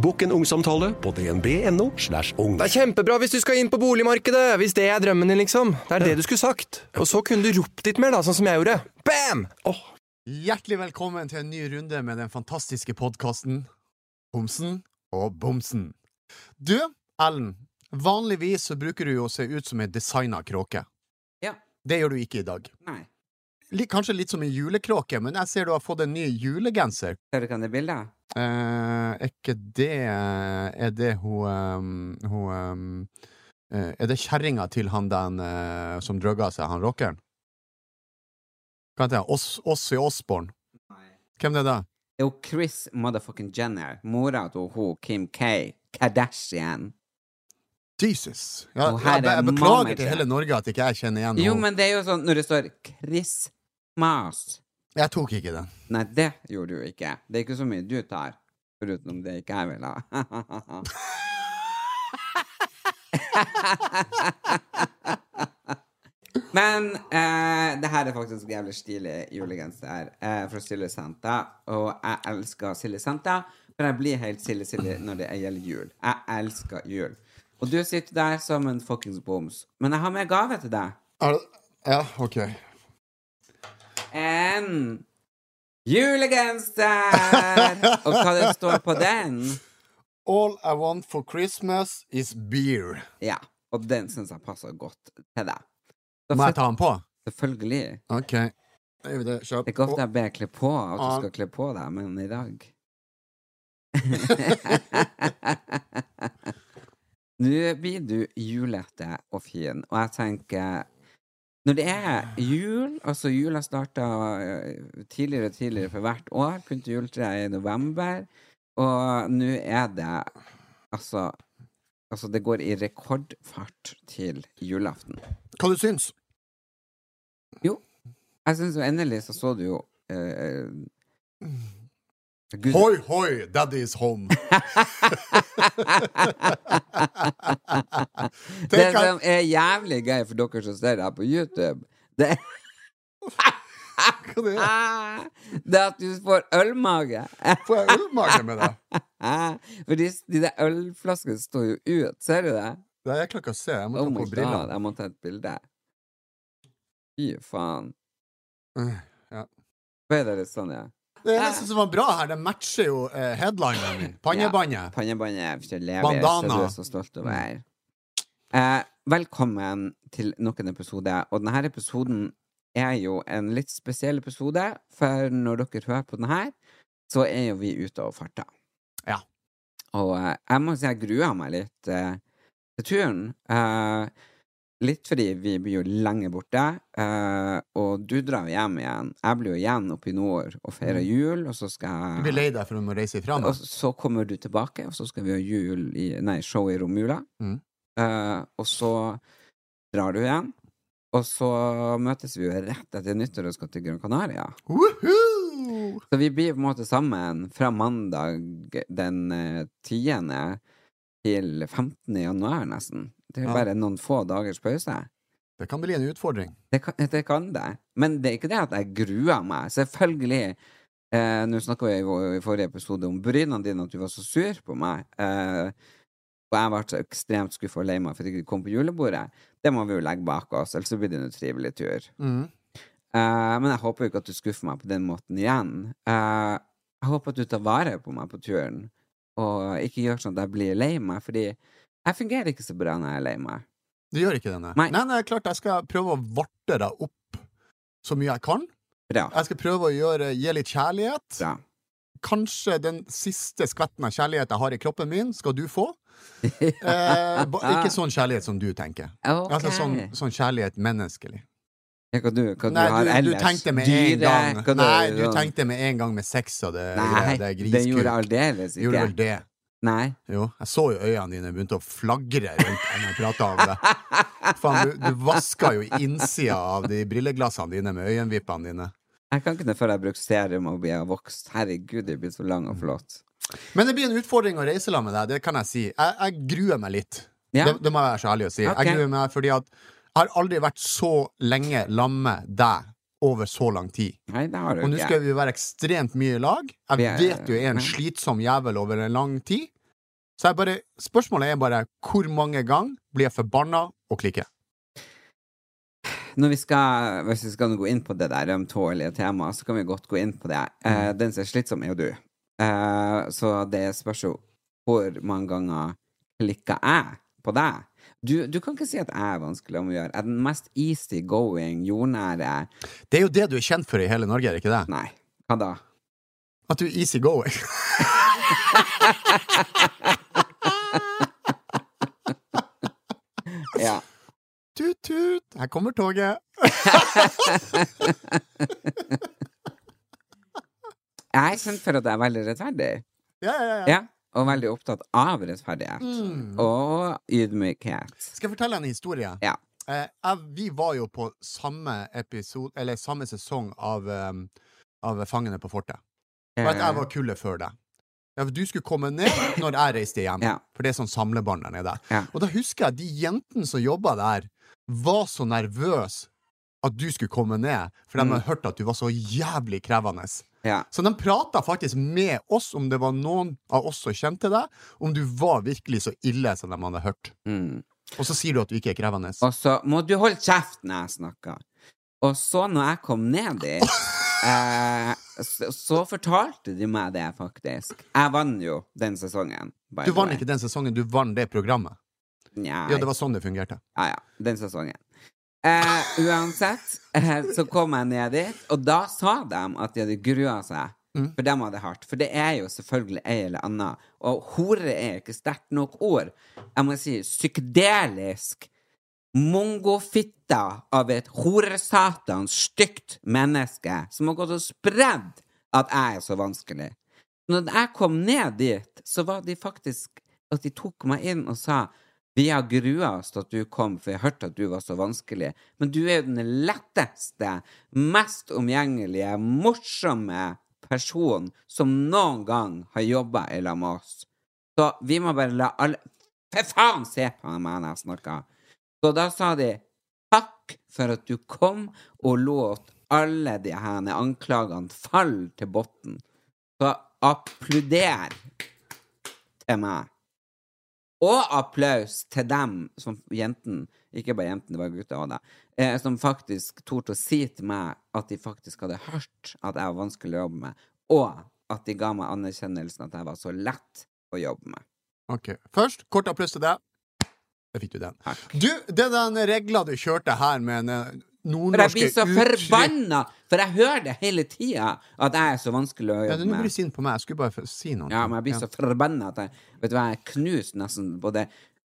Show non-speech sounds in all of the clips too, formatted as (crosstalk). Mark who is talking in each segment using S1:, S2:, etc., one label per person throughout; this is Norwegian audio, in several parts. S1: Bokk en ungsamtale på dnb.no. slash ung.
S2: Det er kjempebra hvis du skal inn på boligmarkedet, hvis det er drømmen din, liksom. Det er det du skulle sagt. Og så kunne du ropt litt mer, da, sånn som jeg gjorde. Bam!
S3: Hjertelig velkommen til en ny runde med den fantastiske podkasten Bomsen og Bomsen. Du, Ellen, vanligvis så bruker du jo å se ut som en designa kråke.
S4: Ja.
S3: Det gjør du ikke i dag.
S4: Nei.
S3: Li- Kanskje litt som en julekråke, men jeg ser du har fått en ny julegenser.
S4: Ser du hva det bildet?
S3: Eh, er ikke det Er det hun ehm, Hun ehm, eh, Er det kjerringa til han den eh, som drugga seg, han rockeren? Hva heter han? Os Ossie Osborne? Hvem det er det?
S4: Det er jo Chris motherfucking Jenner, mora til hun Kim K. Kardashian.
S3: Jesus! Ja,
S4: Og her
S3: jeg, be-
S4: er
S3: jeg beklager
S4: mammaet.
S3: til hele Norge at ikke jeg kjenner igjen
S4: Jo,
S3: henne.
S4: men det er jo sånn når det står Chris Mas
S3: Jeg tok ikke den.
S4: Nei, det gjorde du ikke. Det er ikke så mye du tar, foruten det ikke jeg vil ha. (laughs) Men eh, det her er faktisk jævlig stilig julegenser eh, fra Silje Santa. Og jeg elsker Silje Santa, for jeg blir helt Silje Silje når det gjelder jul. Jeg elsker jul. Og du sitter der som en fuckings boms. Men jeg har med gave til deg.
S3: Ja, ok.
S4: En julegenser! Og hva det står på den?
S3: All I want for Christmas is beer.
S4: Ja. Og den syns jeg passer godt til deg. Så
S3: Må jeg ta den på?
S4: Selvfølgelig.
S3: Ok. Da gjør vi det. Kjøp.
S4: Det er ikke ofte jeg ber kle på at du
S3: Ja.
S4: skal kle på deg, men i dag Nå blir du julete og fin, og jeg tenker Når det er jul, altså jula starta eh, tidligere og tidligere for hvert år, begynte juletreet i november, og nå er det altså Altså, det går i rekordfart til julaften.
S3: Hva du syns
S4: Jeg syns jo endelig så så du jo eh, Gud- (laughs)
S3: Hoi, hoi, daddy is (laughs) home.
S4: Det
S3: Tenk at
S4: som er jævlig gøy for dere som ser det her på YouTube, det er (laughs)
S3: Hva det er?
S4: Det er at du får ølmage. (laughs)
S3: Får jeg ølmage med (laughs) det?
S4: For de, de der ølflaskene står jo ut. Ser du det?
S3: Nei, jeg klarer ikke å se. Jeg må
S4: Oh
S3: ta
S4: my
S3: på
S4: god,
S3: brillene.
S4: jeg må ta et bilde. Fy faen.
S3: Eh, ja.
S4: Ble det litt sånn, ja?
S3: Det eneste som var bra her, det matcher jo eh, headlineren min. Pannebåndet.
S4: Pannebåndet for lever,
S3: Bandana.
S4: som du er så stolt over. Eh, velkommen til nok en episode. Og denne episoden er jo en litt spesiell episode, for når dere hører på den her, så er jo vi ute og farta.
S3: Ja.
S4: Og eh, jeg må si jeg gruer meg litt eh, til turen. Eh, litt fordi vi blir jo lenge borte, eh, og du drar jo hjem igjen. Jeg blir jo igjen oppe i nord og feirer jul, og så skal
S3: Du Mm.
S4: jeg
S3: blir lei deg for å må reise ifra
S4: og
S3: meg.
S4: så kommer du tilbake, og så skal vi ha jul i, nei, show i romjula.
S3: Mm.
S4: Eh, og så drar du igjen. Og så møtes vi jo rett etter nyttår og skal til Gran Canaria.
S3: Woohoo!
S4: Så vi blir på en måte sammen fra mandag den eh, 10. til 15. januar, nesten. Det er
S3: Ja.
S4: bare noen få dagers pause.
S3: Det kan bli en utfordring.
S4: Det kan, det kan det. Men det er ikke det at jeg gruer meg. Selvfølgelig. Eh, Nå snakka vi i vår- i forrige episode om brynene dine, at du var så sur på meg. Eh, og jeg ble så ekstremt skuffa og lei meg for at jeg ikke kom på julebordet. Det må vi jo legge bak oss, ellers så blir det en utrivelig tur.
S3: Mhm.
S4: Eh, men jeg håper jo ikke at du skuffer meg på den måten igjen. Eh, jeg håper at du tar vare på meg på turen, og ikke gjør sånn at jeg blir lei meg, fordi jeg fungerer ikke så bra når jeg er lei meg.
S3: Du gjør ikke det, nei.
S4: Nei.
S3: Nei, nei, klart jeg skal prøve å varte deg opp så mye jeg kan.
S4: Bra.
S3: Jeg skal prøve å gjøre, gi litt kjærlighet.
S4: Bra.
S3: Kanskje den siste skvetten av kjærlighet jeg har i kroppen min, skal du
S4: (laughs)
S3: få. Eh, ba- ikke sånn kjærlighet som du tenker.
S4: Ok.
S3: Altså sånn, sånn kjærlighet menneskelig.
S4: Ja, Hva du, hva du
S3: Nei,
S4: har
S3: du, du
S4: ellers?
S3: tenkte med en
S4: Dyre?
S3: gang
S4: Hva
S3: Nei, du tenkte med en gang med sex og det,
S4: Nei,
S3: det, det griskuk.
S4: det gjorde jeg aldeles ikke.
S3: Gjorde vel det.
S4: Nei.
S3: Jo, jeg så jo øynene dine begynte å flagre rundt når jeg prata om det. Faen, du, du vaska jo innsida av de brilleglassene dine med øyenvippene dine.
S4: Jeg kan ikke det før jeg bruker serum og blir vokst. Herregud, jeg blir så lang
S3: Mm.
S4: og flott.
S3: Men det blir en utfordring å reise sammen med deg, det kan jeg si. Jeg, jeg gruer meg litt.
S4: Ja.
S3: Det, det må jeg være så ærlig å si.
S4: Ok.
S3: Jeg gruer meg fordi at jeg har aldri vært så lenge sammen med deg over så lang tid.
S4: Nei, det har du
S3: Og nå
S4: ikke.
S3: skal vi være ekstremt mye i lag.
S4: Vi
S3: Jeg
S4: er-
S3: vet jo jeg er en
S4: ja.
S3: slitsom jævel over en lang tid. Så jeg bare, spørsmålet er bare hvor mange ganger blir jeg forbanna og klikker?
S4: Når vi skal, hvis vi skal gå inn på det der ømtålige temaet, så kan vi godt gå inn på det. Eh,
S3: Mm.
S4: den som er slitsom, er jo du. Eh, så det spørs jo hvor mange ganger klikka jeg på deg. Du, du kan ikke si at jeg er vanskelig om å gjøre. Jeg er den mest easygoing, jordnære
S3: Det er jo det du er kjent for i hele Norge, er det ikke det?
S4: Nei, hva da?
S3: At du er easy going. (laughs)
S4: Ja.
S3: Tut-tut, her kommer toget.
S4: Jeg er kjent for at jeg er veldig rettferdig.
S3: Ja, ja, Mm. ja.
S4: Ja, og veldig opptatt av rettferdighet. Og ydmykhet.
S3: Skal jeg fortelle en historie?
S4: Ja.
S3: Eh, jeg, vi var jo på samme episode, eller samme sesong av, eh, av Fangene på fortet. For at jeg var kullet før deg. Ja, for Du skulle komme ned når jeg reiste hjem.
S4: (laughs) Ja.
S3: For det er sånn samlebånd der nede.
S4: Ja.
S3: Og da husker jeg de jentene som jobba der, var så nervøse at du skulle komme ned, for de
S4: Mm.
S3: hadde hørt at du var så jævlig krevende.
S4: Eh, Ja.
S3: Så de prata faktisk med oss, om det var noen av oss som kjente deg, om du var virkelig så ille som de hadde hørt.
S4: Mm.
S3: Og så sier du at du ikke er krevende.
S4: Og så må du holde kjeft når jeg snakker. Og så, når jeg kom
S3: (laughs)
S4: ned dit, eh, så, så fortalte de meg det, faktisk. Jeg vant jo den sesongen. by
S3: Du
S4: the
S3: vant
S4: way.
S3: ikke den sesongen, du vant det programmet.
S4: Nei.
S3: Ja, det var sånn det fungerte.
S4: Ja, ja. Den sesongen. Eh, uansett, eh, så kom jeg ned dit, og da sa de at de hadde grua seg. For dem var det hardt. For det er jo selvfølgelig ei eller anna. Og hore er ikke sterkt nok ord. Jeg må si psykedelisk. Mongofitta av et horesatans stygt menneske som har gått og spredd at jeg er så vanskelig. Når jeg kom ned dit, så var de faktisk at de tok meg inn og sa vi har grua oss til at du kom, for jeg hørte at du var så vanskelig, men du er jo den letteste, mest omgjengelige, morsomme personen som noen gang har jobba i lag med oss. Så vi må bare la alle For faen se på meg når jeg snakker! Så da sa de takk for at du kom og lot alle de her anklagene falle til bunnen. Så applauder til meg. Og applaus til dem som jenten, ikke bare jenten, det var gutter òg, da, eh, som faktisk torde å si til meg at de faktisk hadde hørt at jeg var vanskelig å jobbe med, og at de ga meg anerkjennelsen at jeg var så lett å jobbe med.
S3: Ok, Først, kort applaus til deg. Der fikk du den. Du, det er den regla du kjørte her med en eh,
S4: For jeg
S3: nordnorske
S4: blir så
S3: uttrykk-
S4: forbanna, for jeg hører det hele tida, at jeg er så vanskelig å
S3: Ja,
S4: jobbe
S3: Nå blir
S4: med.
S3: du sint på meg. Jeg skulle bare få si noe.
S4: Ja, men jeg blir så forbanna at jeg Vet du hva, jeg knuser nesten både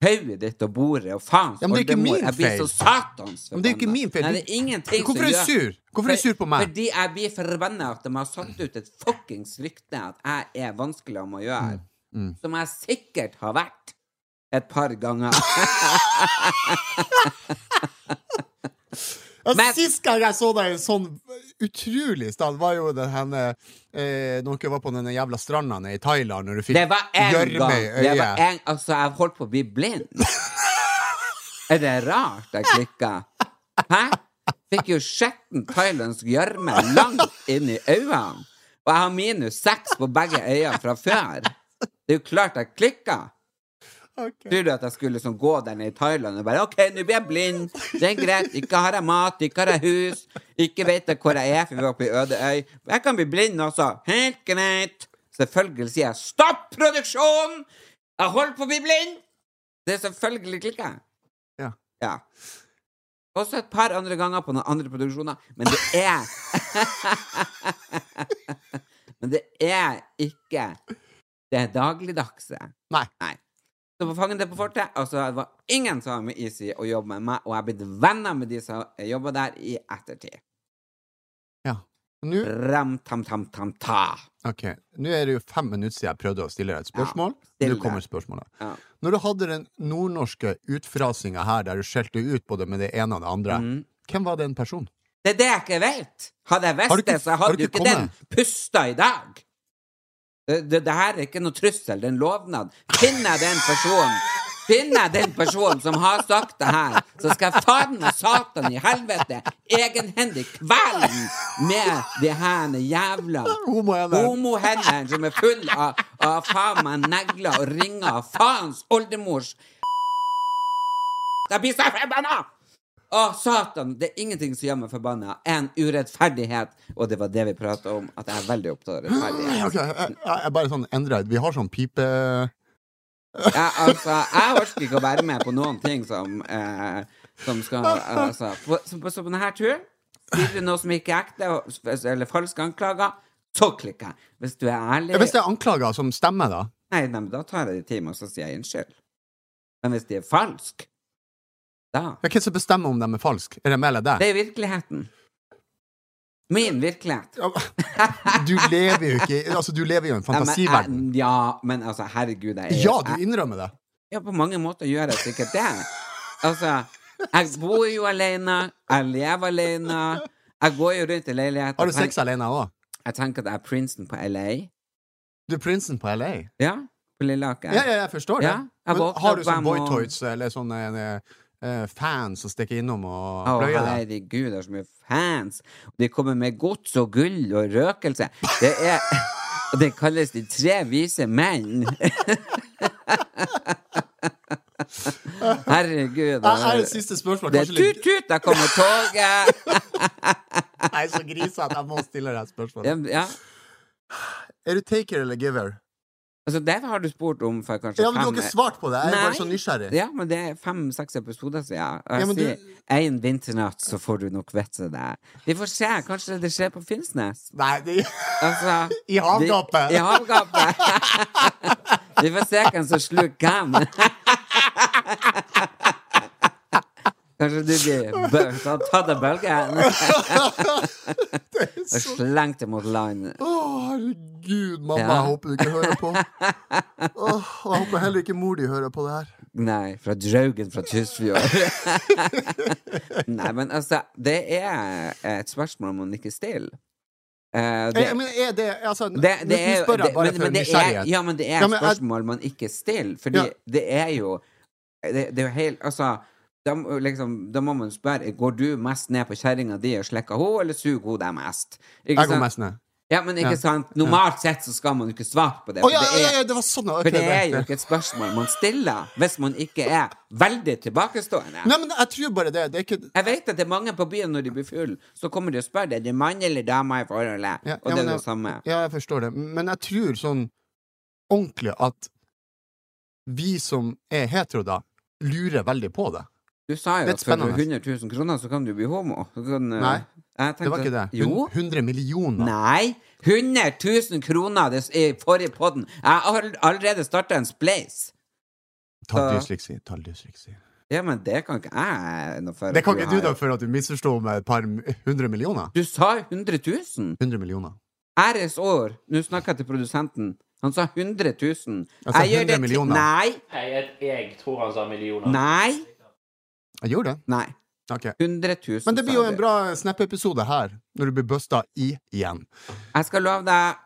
S4: hodet ditt og bordet og faens
S3: Ja, men det er ikke
S4: oldemor.
S3: min
S4: Jeg blir
S3: feil.
S4: så satans
S3: Men det er jo ikke
S4: forbanna.
S3: min feil.
S4: Nei,
S3: Du-
S4: det er ingenting
S3: Hvorfor er du
S4: som gjør-
S3: sur? Hvorfor er du
S4: For-
S3: sur på meg?
S4: Fordi jeg blir forbanna at de har satt ut et fuckings rykte at jeg er vanskelig om å gjøre.
S3: Mm,
S4: Som jeg sikkert har vært et par ganger.
S3: Ja,
S4: Men-
S3: Altså, Sist gang jeg så deg i en sånn utrolig stand, var jo den henne eh, Når dere var på denne jævla stranda nede i Thailand, når du fikk
S4: Det var én gang.
S3: gjørme i
S4: Det var
S3: øyet.
S4: en, altså, jeg holdt på å bli blind. Er det rart jeg klikka? Hæ? Fikk jo skjetten thailandsk gjørme langt inn i øynene. Og jeg har minus seks på begge øyne fra før. Det er jo klart jeg klikka. Tror du at jeg skulle liksom gå der nede i Thailand og bare OK, nå blir jeg blind. Det er greit. Ikke har jeg mat, ikke har jeg hus, ikke vet jeg hvor jeg er, for vi var på ei øde øy. Jeg kan bli blind også. Helt greit. Selvfølgelig sier jeg stopp produksjonen! Jeg holder på å bli blind! Det er selvfølgelig klikka.
S3: Ja.
S4: ja. Også et par andre ganger på noen andre produksjoner. Men det er (laughs) Men det er ikke det dagligdagse.
S3: Nei.
S4: Så på Fangen det på fortet altså, Det var ingen som var med is i å jobbe med meg, og jeg er blitt venner med de som jobber der i ettertid.
S3: Ja. Nå
S4: Ram-tam-tam-tam-ta.
S3: ok, nå er det jo fem minutter siden jeg prøvde å stille deg et spørsmål.
S4: still
S3: nå kommer
S4: det.
S3: spørsmålet.
S4: Ja.
S3: Når du hadde den nordnorske utfrasinga her, der du skjelte ut både med det ene og det andre,
S4: Mm.
S3: hvem var den personen?
S4: Det er det jeg ikke vet. Hadde
S3: Har
S4: jeg visst
S3: du
S4: det,
S3: ikke-
S4: så
S3: har
S4: hadde
S3: du
S4: jo
S3: ikke
S4: ikke den pusta i dag. Det, det, det her er ikke noe trussel, det er en lovnad. Finner jeg den personen Finner jeg den personen som har sagt det her, så skal jeg faen og satan i helvete egenhendig kvele den med de her jævla
S3: Homohendene.
S4: homohendene som er full av, av faen meg negler og ringer og faens oldemors Jeg blir så forbanna! Å, satan! Det er ingenting som gjør meg forbanna enn urettferdighet. Og det var det vi prata om, at jeg er veldig opptatt
S3: Nei,
S4: av
S3: ok,
S4: rettferdighet.
S3: Altså, jeg, jeg, jeg bare sånn endrer Vi har sånn pipe...
S4: Jeg, altså, jeg orker ikke å være med på noen ting som, eh, som skal altså, på, så, på, så på denne turen sier du noe som ikke er ekte, og- eller falske anklager, så klikker jeg. Hvis du er ærlig
S3: Hvis det er anklager som stemmer, da?
S4: Nei, nei, men da tar jeg det i timen, og så sier jeg unnskyld. Men hvis de er falske, da
S3: Ja, Hvem som bestemmer om de er falske? Er det meg eller deg?
S4: Det er virkeligheten. Min virkelighet.
S3: Ja, Du lever jo ikke i- Altså, du lever jo i en
S4: Ja, men
S3: fantasiverden.
S4: jeg- Ja, men altså, herregud, jeg er
S3: Ja, du
S4: jeg,
S3: innrømmer det.
S4: Ja, på mange måter gjør jeg sikkert det. Altså, jeg bor jo alene, jeg lever alene, jeg går jo rundt i leilighet
S3: Har du
S4: og tenk-
S3: sex alene òg?
S4: Jeg tenker at jeg er prinsen på LA.
S3: Du er prinsen på LA.
S4: Ja, på Lilleaker.
S3: Ja, ja, jeg forstår det.
S4: Ja,
S3: Men
S4: jeg våkner
S3: har du
S4: opp
S3: sånn
S4: hjem og-
S3: boytoys eller sånne eh, fans som stikker innom og
S4: Å,
S3: pløyer deg?
S4: herregud, det er så mye fans. De kommer med gods og gull og røkelse. Det er (laughs) Og det kalles De tre vise menn. (laughs) Herregud.
S3: Her er et siste spørsmål.
S4: Det er
S3: Kanskje litt
S4: tut-tut, der kommer toget.
S3: Jeg er så grisete at jeg må stille deg et spørsmål.
S4: Ja, ja.
S3: Er du taker eller giver?
S4: Altså, det har du spurt om for kanskje
S3: Ja, men Du har ikke svart på det. Jeg er bare
S4: Nei.
S3: så nysgjerrig.
S4: Ja, men det er fem-seks episoder siden. Og jeg
S3: Ja, men du-
S4: sier én vinternatt, så får du nok vett til det. Vi får se. Kanskje det skjer på Finnsnes.
S3: Nei, det...
S4: Altså,
S3: I havgapet.
S4: de- I havgapet. (laughs) Vi får se hvem som sluker hvem. (laughs) Kanskje du blir bø- ta- tatt av
S3: (laughs)
S4: bølgen og slengt det mot land.
S3: Å, herregud, mamma,
S4: Ja.
S3: jeg håper du ikke hører på. Åh, jeg håper heller ikke mor di hører på det her.
S4: Nei, fra Draugen fra Tysfjord. (laughs) Nei, men altså, det er et spørsmål man ikke stiller. Eh,
S3: Eh, men er det altså,
S4: det,
S3: nå-
S4: det
S3: Nå
S4: er, jo-
S3: spør jeg
S4: det-
S3: bare
S4: men-
S3: for
S4: men det er-
S3: nysgjerrighet.
S4: Ja, men det er
S3: Ja, men jeg-
S4: spørsmål man ikke stiller, fordi
S3: Ja.
S4: det er jo det, det er jo helt Altså, da, må- liksom, da må man spørre Går du mest ned på kjerringa di og slekker henne, eller suger hun deg mest? Ikke
S3: Jeg går
S4: sant?
S3: mest ned.
S4: Ja, men ikke
S3: Ja.
S4: sant? Normalt sett så skal man jo ikke svare på det.
S3: Å
S4: for
S3: ja,
S4: det
S3: ja,
S4: er-
S3: ja, det var sånn. ok,
S4: for det er
S3: greit,
S4: jo
S3: ja.
S4: ikke et spørsmål man stiller hvis man ikke er veldig tilbakestående.
S3: Nei, men jeg tror bare det. Det er ikke
S4: Jeg vet at det er mange på byen når de blir full så kommer de og spør deg, er det mann eller dame i forholdet,
S3: Ja,
S4: og
S3: ja,
S4: det
S3: men
S4: er det
S3: jeg-
S4: samme.
S3: Ja, jeg forstår det. Men jeg tror sånn ordentlig at vi som er hetero, da, lurer veldig på det.
S4: Du sa jo
S3: Litt
S4: at for
S3: spennende.
S4: 100 000 kroner så kan du bli homo. Du kan, eh,
S3: Nei,
S4: jeg tenkte
S3: Det var ikke det.
S4: at- Jo.
S3: 100 millioner.
S4: Nei. 100 000 kroner det, s- i forrige podden. Jeg har all- allerede starta en spleis.
S3: Tall dysleksi. Tall dysleksi.
S4: Ja, men det kan ikke jeg noe for.
S3: Det kan
S4: at
S3: ikke du, da,
S4: har-
S3: for at du misforstår med et par hundre millioner.
S4: Du sa 100 000.
S3: 100 millioner.
S4: Æres år. Nå snakker jeg til produsenten. Han sa 100 000.
S3: Jeg sa 100
S4: til-
S3: millioner.
S4: Nei.
S5: Nei, jeg, jeg tror han sa millioner.
S4: Nei.
S3: Jeg gjorde det.
S4: Nei.
S3: Ok.
S4: 100 000.
S3: Men det blir jo
S4: sa
S3: en
S4: du.
S3: bra snap-episode her, når du blir busta i igjen.
S4: Jeg skal love deg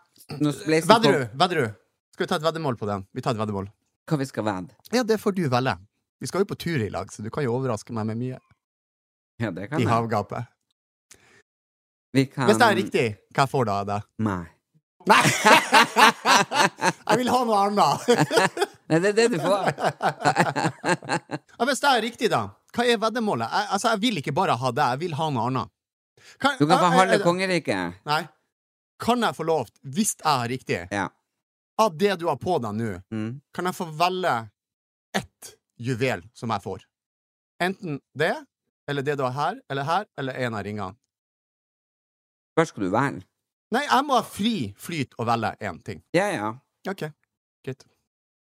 S4: Nå spleiser vi på
S3: Vedderud! Vedderud! Skal vi ta et veddemål på den? Vi tar et veddemål.
S4: hva vi skal vedde.
S3: Ja, det får du velge. Vi skal jo på tur i lag, så du kan jo overraske meg med mye
S4: Ja, det kan
S3: i
S4: jeg.
S3: havgapet.
S4: Vi kan
S3: Hvis det er riktig, hva får da av det?
S4: Nei.
S3: Nei! Jeg vil ha noe
S4: (laughs)
S3: annet!
S4: Nei, det er det du får.
S3: Ja, Hvis det er riktig, da, hva er veddemålet? Jeg, altså, jeg vil ikke bare ha det, jeg vil ha noe annet. Kan, (laughs)
S4: Du kan få
S3: jeg- jeg-
S4: halve kongeriket.
S3: Nei. Kan jeg få lov, hvis jeg har riktig,
S4: Ja.
S3: av det du har på deg nå,
S4: Mm.
S3: kan jeg få velge ett juvel som jeg får? Enten det, eller det du har her, eller her, eller en av ringene.
S4: Hva skal du velge?
S3: Nei, jeg må ha fri flyt og velge én ting.
S4: Ja, ja.
S3: Ok, greit.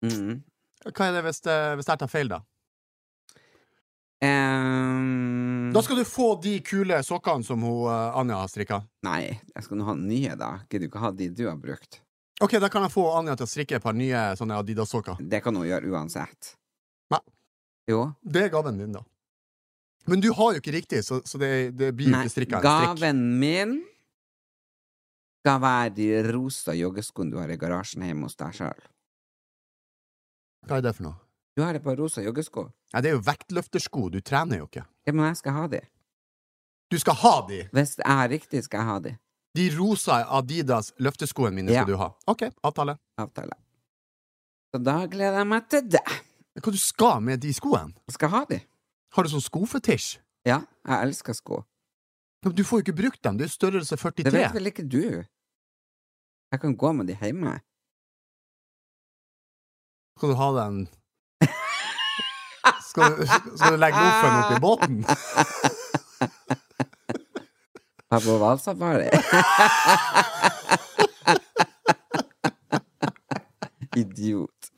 S4: Mm.
S3: Hva er det hvis, eh, hvis jeg tar feil, da?
S4: Ehm,
S3: Da skal du få de kule sokkene som hun, eh, Anja har strikka.
S4: Nei, jeg skal nå ha nye, da. Gidder du ikke ha de du har brukt?
S3: Ok, da kan jeg få Anja til å strikke et par nye sånne Adidas-sokker.
S4: Det kan hun gjøre uansett.
S3: Nei.
S4: Jo.
S3: Det er gaven din, da. Men du har jo ikke riktig, så, så det, det blir jo
S4: Nei,
S3: ikke strikka en strikk.
S4: gaven min skal være de rosa joggeskoene du har i garasjen hjemme hos deg sjøl.
S3: Hva er det for noe?
S4: Du har et par rosa joggesko.
S3: Nei, det er jo vektløftersko, du trener jo ikke.
S4: Ja, men jeg skal ha de.
S3: Du skal ha de!
S4: Hvis jeg har riktig, skal jeg ha de.
S3: De rosa Adidas løfteskoene mine
S4: Ja.
S3: skal du ha. Ok, avtale.
S4: Avtale. Så da gleder jeg meg til det.
S3: Hva du skal med de skoene?
S4: Jeg skal ha de.
S3: Har du sånn skofetisj?
S4: Ja, jeg elsker sko.
S3: Ja, men Du får jo ikke brukt dem, du er størrelse
S4: Det vet
S3: 43.
S4: vel ikke du? Jeg kan gå med de hjemme.
S3: Skal du ha den skal du, skal du legge loffen oppi båten?
S4: Jeg er på hvalsafari. (laughs) Idiot.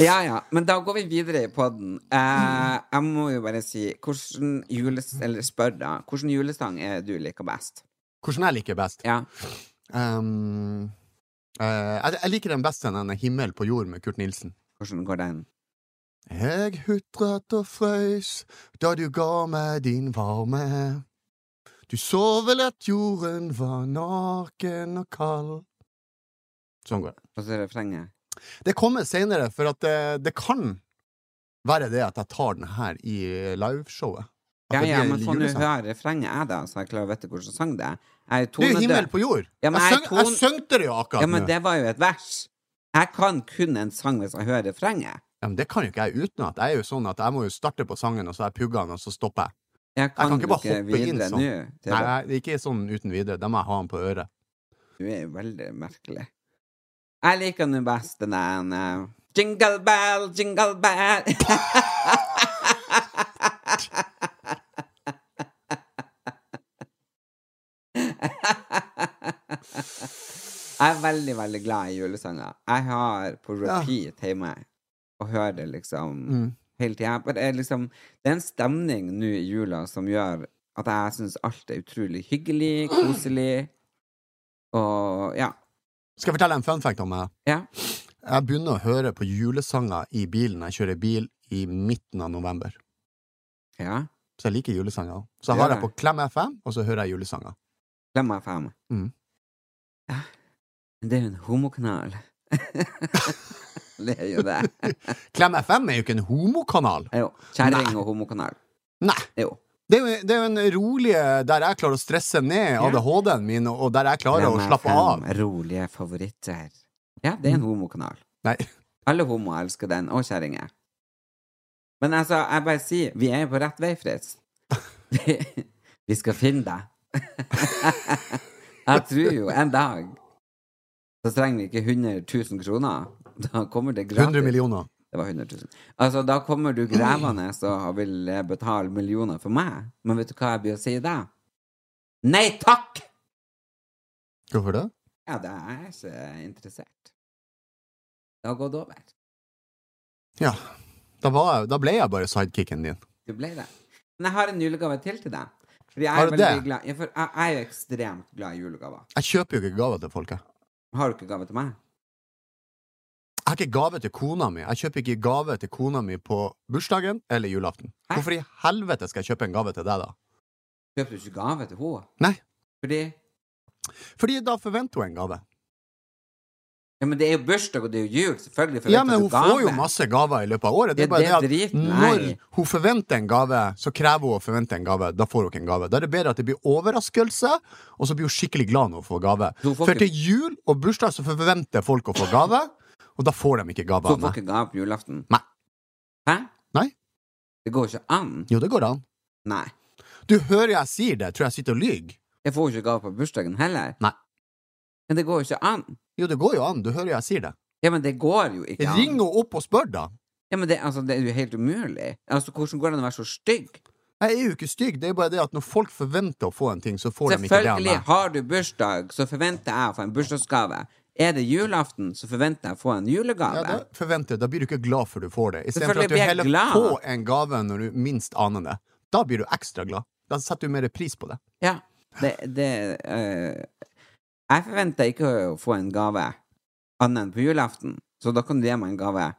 S4: Ja ja, men da går vi videre i poden. Eh, jeg må jo bare si hvordan jules... Eller spør, da. Hvilken julesang er det du liker best?
S3: Hvordan jeg liker best?
S4: Ja.
S3: Ehm, eh, jeg, jeg liker den best enn den Himmel på jord med Kurt Nilsen.
S4: Hvordan går den?
S3: Jeg hutret og frøys da du ga meg din varme. Du så vel at jorden var naken og kald. Sånn går det.
S4: Og så refrenget.
S3: Det kommer senere, for at eh, det, det kan være det at jeg tar den her i liveshowet. At
S4: Ja
S3: det
S4: ja,
S3: blir
S4: men sånn
S3: en
S4: få nå
S3: julesang.
S4: høre refrenget, jeg, da, så jeg klarer å vite hvilken sang det er. Jeg er
S3: Det er jo himmel
S4: tonedøv.
S3: på jord!
S4: Ja, men
S3: jeg,
S4: jeg
S3: søng,
S4: ton-
S3: jeg søngte det jo akkurat
S4: Ja, men
S3: nå.
S4: det var jo et vers. Jeg kan kun en sang hvis jeg hører refrenget.
S3: Ja, men det kan jo ikke jeg utenat. Jeg er jo sånn at jeg må jo starte på sangen, og så har jeg pugga den, og så stopper jeg.
S4: Jeg kan,
S3: kan ikke
S4: ikke
S3: bare
S4: bare
S3: hoppe inn sånn.
S4: Nå,
S3: Nei, jeg- det er ikke sånn uten videre. Da må jeg ha den på øret.
S4: Du er jo veldig merkelig. Jeg liker nå best den der eh, Jingle bell, jingle bell (laughs) Jeg er veldig, veldig glad i julesanger. Jeg har på
S3: Ja.
S4: repeat hjemme og hører det liksom
S3: Mm.
S4: hele tida. Det er liksom Det er en stemning nå i jula som gjør at jeg syns alt er utrolig hyggelig, koselig, og ja.
S3: Skal jeg fortelle en fun fact om meg?
S4: Ja.
S3: Jeg begynner å høre på julesanger i bilen. Jeg kjører bil i midten av november.
S4: ja.
S3: Så jeg liker julesanger. Så
S4: Ja,
S3: har jeg
S4: nei.
S3: på Klem FM, og så hører jeg julesanger.
S4: Klem meg fem.
S3: Mm.
S4: Ja. Men Det er jo en homokanal. (laughs) det er jo det.
S3: Klem FM er jo ikke en homokanal!
S4: Jo. Kjerring og homokanal.
S3: Nei!
S4: Jo.
S3: Det er, jo, det er jo en rolig der jeg klarer å stresse ned ADHD-en min, og der jeg klarer å
S4: Klem meg
S3: slappe
S4: fem
S3: av. Mm.
S4: rolige favoritter. Ja, det er en homokanal.
S3: Nei. (laughs)
S4: Alle homoer elsker den, og kjerringer. Men altså, jeg bare sier, vi er jo på rett vei, Fritz.
S3: (laughs)
S4: Vi, vi skal finne deg. (laughs) Jeg tror jo en dag så trenger vi ikke 100 000 kroner. Da kommer det
S3: 100
S4: gratis.
S3: millioner.
S4: Det var 100 000. Altså, da kommer du grevende og vil eh, betale millioner for meg. Men vet du hva jeg blir å si da? Nei takk!
S3: Hvorfor det?
S4: Ja, det er jeg ikke interessert. Det har gått over.
S3: Ja. Da, var jeg, da ble jeg bare sidekicken din.
S4: Du ble det. Men jeg har en julegave til til deg. Fordi jeg
S3: Har
S4: er,
S3: du
S4: veldig
S3: det?
S4: glad, ja, for jeg, jeg er jo ekstremt glad i julegaver.
S3: Jeg kjøper jo ikke gaver til folk, jeg.
S4: Har du ikke gave til meg?
S3: Jeg har ikke gave til kona mi. Jeg kjøper ikke gave til kona mi på bursdagen eller julaften.
S4: Hæ?
S3: Hvorfor i helvete skal jeg kjøpe en gave til deg, da?
S4: Kjøper du ikke gave til henne?
S3: Nei.
S4: Fordi
S3: Fordi da forventer hun en gave.
S4: Ja, men det er jo bursdag, og det er jo jul, selvfølgelig.
S3: Ja,
S4: forventer
S3: men
S4: du
S3: hun
S4: gave.
S3: får jo masse gaver i løpet av året. Det
S4: Ja,
S3: er bare
S4: det
S3: det at
S4: drit-
S3: når
S4: nei.
S3: hun forventer en gave, så krever hun å forvente en gave. Da får hun ikke en gave. Da er det bedre at det blir overraskelse, og så blir hun skikkelig glad når hun får gave.
S4: Så hun får
S3: For
S4: ikke-
S3: til jul og bursdag så forventer folk å få gave, og da får de ikke
S4: Så hun får
S3: gavene.
S4: ikke gave på julaften?
S3: Nei.
S4: Hæ?
S3: Nei.
S4: Det går ikke an.
S3: Jo, det går an.
S4: Nei.
S3: Du hører jeg sier det, tror jeg sitter og lyver.
S4: Jeg får jo ikke gave på bursdagen heller.
S3: Nei.
S4: Men det går jo ikke an.
S3: Jo, det går jo an. Du hører jeg sier det.
S4: Ja, men det går jo ikke an.
S3: Ring henne opp og spør, da.
S4: Ja, men det, altså, det er jo helt umulig. Altså, hvordan går det an å være så stygg?
S3: Jeg er jo ikke stygg, det er bare det at når folk forventer å få en ting, så får de ikke det av
S4: Selvfølgelig
S3: meg.
S4: har du bursdag, så forventer jeg å få en bursdagsgave. Er det julaften, så forventer jeg å få en
S3: Ja,
S4: julegave.
S3: da forventer jeg, da blir du ikke glad for du får det. Istedenfor
S4: Selvfølgelig
S3: at du
S4: blir jeg
S3: heller
S4: glad.
S3: får en gave når du minst aner det. Da blir du ekstra glad. Da setter du mer pris på det.
S4: Ja, det, det eh, Jeg forventer ikke å få en gave annet enn på julaften, så da kan du gi meg en gave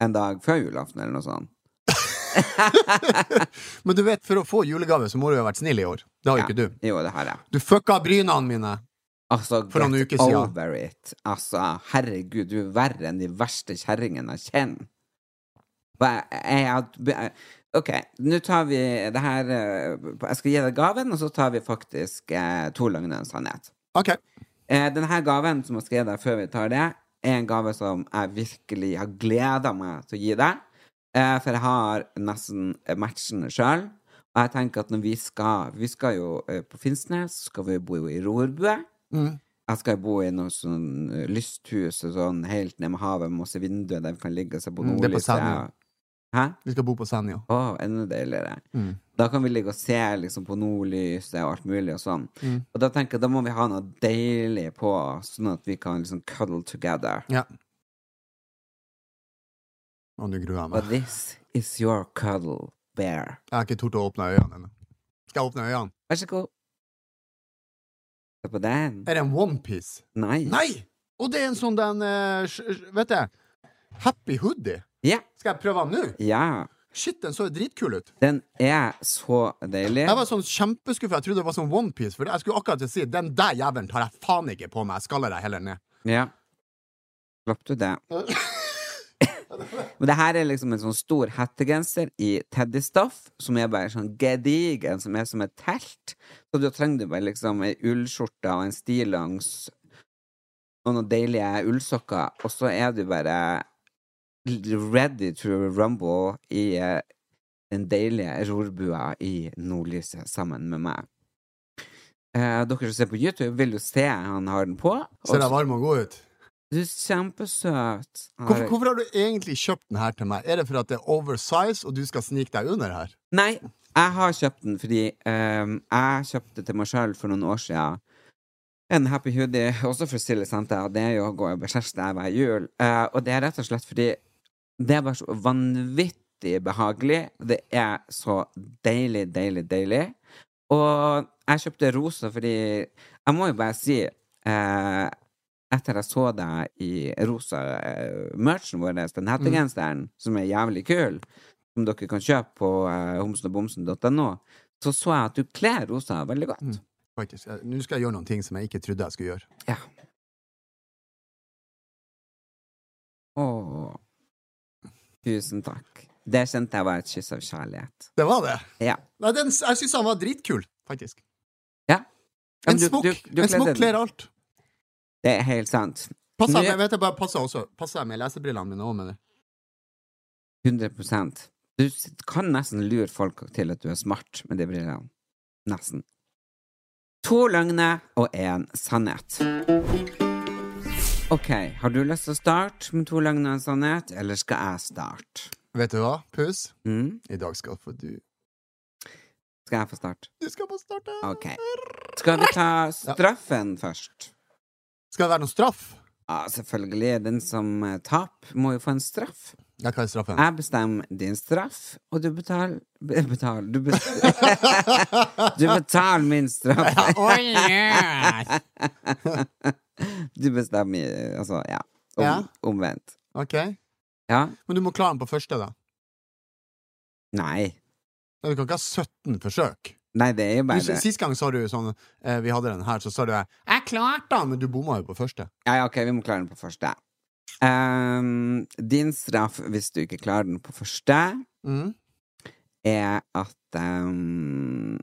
S4: en dag før julaften, eller noe sånt.
S3: Men du vet, for å få julegave, så må du jo ha vært snill i år. Det har jo
S4: Ja.
S3: ikke du.
S4: Jo, det har jeg.
S3: Du fucka brynene mine!
S4: Altså,
S3: For noen
S4: get
S3: uker siden.
S4: over it. Altså, herregud, du er verre enn de verste kjerringene jeg kjenner. Hva- jeg had- Ok, nå tar vi det her eh, Jeg skal gi deg gaven, og så tar vi faktisk eh, to løgner og en sannhet.
S3: Ok.
S4: Eh, denne gaven som jeg skal gi deg før vi tar det, er en gave som jeg virkelig har gleda meg til å gi deg. Eh, for jeg har nesten matchen sjøl. Og jeg tenker at når vi skal Vi skal jo eh, på Finnsnes, så skal vi bo i rorbue.
S3: Mm.
S4: Jeg skal bo i noe sånn eh, lysthus og sånn helt ned med havet, med masse vinduer der vi kan ligge og se på
S3: Mm, det er på
S4: nordlyset.
S3: Senja.
S4: Hæ?
S3: Vi skal bo på Senja.
S4: Å, enda deiligere.
S3: Mm.
S4: Da kan vi ligge og se liksom, på nordlyset og alt mulig og sånn.
S3: Mm.
S4: Og da tenker jeg, da må vi ha noe deilig på, sånn at vi kan liksom cuddle together.
S3: Ja. Og nå gruer jeg
S4: But
S3: meg.
S4: this is your cuddle bear.
S3: Jeg har ikke tort å åpne øynene ennå. Skal jeg åpne øynene?
S4: Vær så god. Se på den.
S3: Er det en onepiece?
S4: Nei.
S3: Eh, Nei! Og det er en sånn den eh, sj- sj- Vet jeg. Happy hoodie.
S4: Ja.
S3: Skal jeg prøve den nå?
S4: ja.
S3: Shit, den så jo dritkul ut.
S4: Den er så deilig.
S3: Jeg var sånn kjempeskuffa. Jeg trodde det var sånn onepiece. For jeg skulle akkurat til å si den der jævelen tar jeg faen ikke på meg. Jeg skaller deg heller ned.
S4: Ja. Slapp du det? (laughs) Men det her er liksom en sånn stor hettegenser i teddystoff, som er bare sånn gedigen, som er som et telt. Så da trenger du bare liksom ei ullskjorte og en stillongs og noen deilige ullsokker, og så er du bare ready to rumble i eh, den deilige rorbua i nordlyset sammen med meg. Eh, dere som ser på YouTube, vil jo se han har den på. og
S3: Ser jeg varm og god ut?
S4: du er kjempesøt.
S3: Hvorfor, hvorfor har du egentlig kjøpt den her til meg? Er det for at det er oversize, og du skal snike deg under her?
S4: Nei, jeg har kjøpt den fordi ehm, jeg kjøpte til meg sjøl for noen år siden en happy hoodie, (laughs) også fra Silje Santa, og det er jo å gå i beskjærelse der hver jul. Eh, og det er rett og slett fordi det er bare så vanvittig behagelig. Det er så deilig, deilig, deilig. Og jeg kjøpte rosa fordi Jeg må jo bare si eh, etter jeg så deg i rosa eh, merchen vår, den hettegenseren, som er jævlig kul, som dere kan kjøpe på eh, homsenogbomsen.no, så så jeg at du kler rosa veldig godt.
S3: Mm. Faktisk. jeg- Nå skal jeg gjøre noen ting som jeg ikke trodde jeg skulle gjøre.
S4: Ja. Åh. Tusen takk. Det kjente jeg var et kyss av kjærlighet.
S3: Det var det!
S4: Ja.
S3: Nei, den, jeg syns han var dritkul, faktisk.
S4: Ja.
S3: En
S4: Men du-
S3: smokk
S4: du- du
S3: En
S4: kledde
S3: smokk
S4: den.
S3: kler alt.
S4: Det er helt sant.
S3: Passer
S4: Nå-
S3: jeg, med- vet jeg bare, passer også. Passer jeg med lesebrillene mine òg, mener jeg.
S4: 100 Du s- kan nesten lure folk til at du er smart med de brillene. Nesten. To løgner og én sannhet. Ok, har du lyst til å starte med to løgner og en sannhet, eller skal jeg starte?
S3: Vet du hva, Pus?
S4: Mm?
S3: I dag skal få du
S4: Skal jeg få starte?
S3: Du skal få starte!
S4: Ok. Skal vi ta straffen først?
S3: Skal det være noen straff?
S4: Ja, selvfølgelig. Den som eh, taper, må jo få en straff.
S3: Ja, hva er straffen?
S4: Jeg bestemmer din straff, og du betaler be- Betaler
S3: (laughs)
S4: Du, bes- du betaler min straff.
S3: Oh, yes.
S4: (laughs) Du bestemmer Altså, ja. Om,
S3: Ja.
S4: Omvendt.
S3: Ok.
S4: Ja?
S3: Men du må klare den på første, da.
S4: Nei.
S3: Du kan ikke ha 17 forsøk.
S4: Nei, det er jo
S3: Du,
S4: bare det.
S3: sist gang sa du sånn eh, Vi hadde den her, så sa du 'Jeg klarte den', men du bomma jo på første.
S4: Ja, ja, ok, vi må klare den på første. Ehm, din straff, hvis du ikke klarer den på første,
S3: Mm.
S4: er at ehm,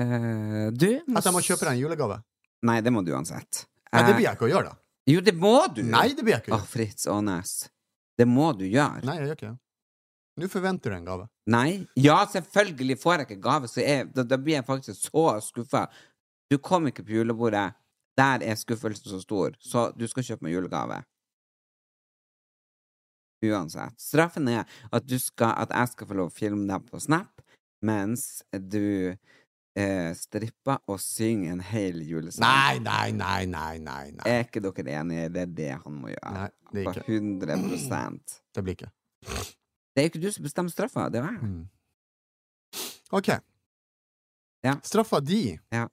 S4: eh, Du
S3: At jeg må kjøpe deg en julegave.
S4: Nei, det må du uansett.
S3: Nei, det
S4: Eh,
S3: blir jeg ikke å gjøre, da.
S4: Jo, det må du!
S3: Nei, det blir jeg ikke å
S4: Åh,
S3: gjøre.
S4: Fritz Aanes. Det må du gjøre.
S3: Nei, jeg gjør ikke det. Nå forventer du en gave.
S4: Nei? Ja, selvfølgelig får jeg ikke gave, så jeg, da, da blir jeg faktisk så skuffa. Du kom ikke på julebordet. Der er skuffelsen så stor, så du skal kjøpe meg julegave. uansett. Straffen er at, du skal, at jeg skal få lov å filme deg på Snap mens du eh, stripper og synger en hel julesang.
S3: Nei, nei, nei, nei, nei. nei.
S4: Er ikke dere enige? Det er det han må gjøre.
S3: Nei, det er ikke.
S4: På 100
S3: Det blir ikke.
S4: Mm. Det er jo ikke du som bestemmer straffa, det er jeg.
S3: Mm. Ok.
S4: Ja.
S3: Straffa di
S4: Ja.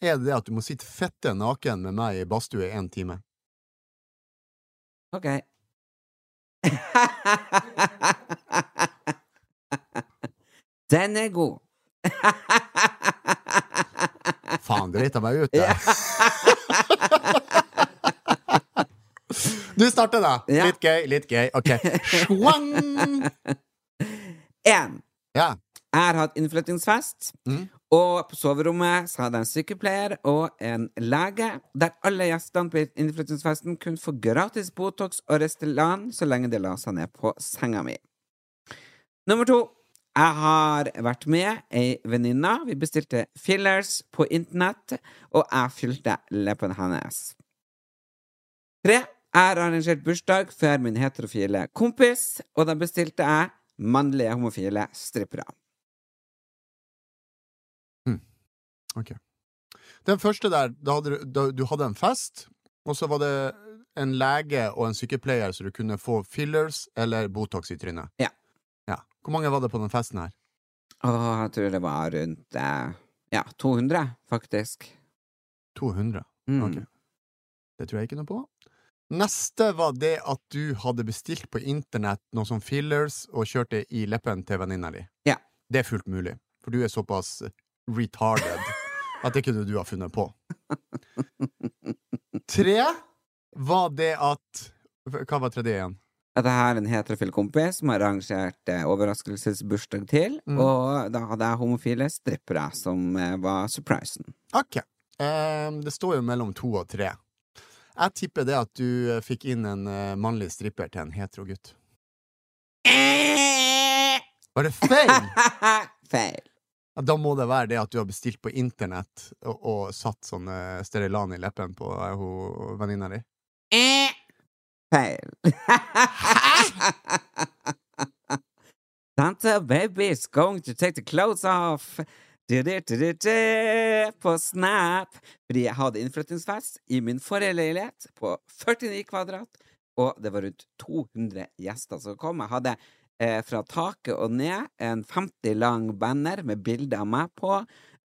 S3: er det at du må sitte fette naken med meg i badstue i én time.
S4: Ok. (laughs) Den er god.
S3: Faen, drita meg ut, eh. det. Du starter, da.
S4: Ja.
S3: Litt gøy, litt gøy. Ok. Schwang!
S4: Én.
S3: Ja.
S4: Jeg har hatt innflyttingsfest,
S3: Mm.
S4: og på soverommet så hadde jeg en sykepleier og en lege, der alle gjestene på innflyttingsfesten kunne få gratis Botox og Restylane så lenge de la seg ned på senga mi. Nummer to. Jeg har vært med ei venninne. Vi bestilte fillers på internett, og jeg fylte leppene hennes. Tre. Jeg har arrangert bursdag for min heterofile kompis, og da bestilte jeg mannlige homofile strippere.
S3: Den første der, da hadde du, da, du hadde en fest, og så var det en lege og en sykepleier, så du kunne få fillers eller Botox i trynet.
S4: Ja.
S3: ja. Hvor mange var det på den festen her?
S4: Og jeg tror det var rundt eh, ja, 200, faktisk.
S3: 200.
S4: Mm.
S3: Ok. Det tror jeg ikke noe på. Neste var det at du hadde bestilt på internett noe som fillers og kjørte i leppen til venninna di.
S4: Ja.
S3: Det er fullt mulig, for du er såpass retarded
S4: (laughs)
S3: at det kunne du ha funnet på. Tre var det at Hva var tredje igjen?
S4: At jeg har en heterofil kompis som har arrangert eh, overraskelsesbursdag til,
S3: Mm.
S4: og da hadde jeg homofile strippere, som eh, var surprisen.
S3: Ok. Ehm, det står jo mellom to og tre. Jeg tipper det at du eh, fikk inn en eh, mannlig stripper til en hetero gutt. Var det
S4: (laughs)
S3: feil?
S4: Feil.
S3: Ja, Da må det være det at du har bestilt på internett og, og satt sånn eh, Sterilan i leppen på eh, ho- venninna di.
S4: Feil. (laughs) Santa baby is going to take the clothes off. Du-du-du-du-du på Snap. Fordi jeg hadde innflyttingsfest i min forrige leilighet på 49 kvadrat, og det var rundt 200 gjester som kom. Jeg hadde eh, fra taket og ned en 50 lang banner med bilde av meg på.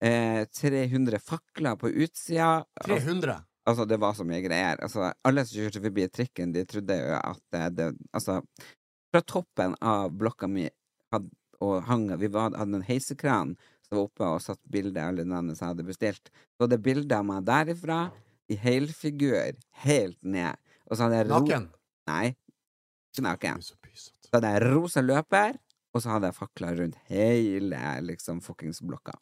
S4: Eh, 300 fakler på utsida. Altså,
S3: 300!
S4: Altså, det var så mye greier. Altså, alle som kjørte forbi trikken, de trodde jo at eh, det Altså, fra toppen av blokka mi had, og hang Vi var, hadde en heisekran som var oppe og satt bilde av alle navnene som jeg hadde bestilt. Så det bildet av meg derifra, i helfigur, helt ned. Og så hadde jeg ro-
S3: Naken!
S4: Nei. Ikke naken.
S3: Pys og pys.
S4: Så hadde jeg rosa løper, og så hadde jeg fakler rundt hele liksom fuckings blokka.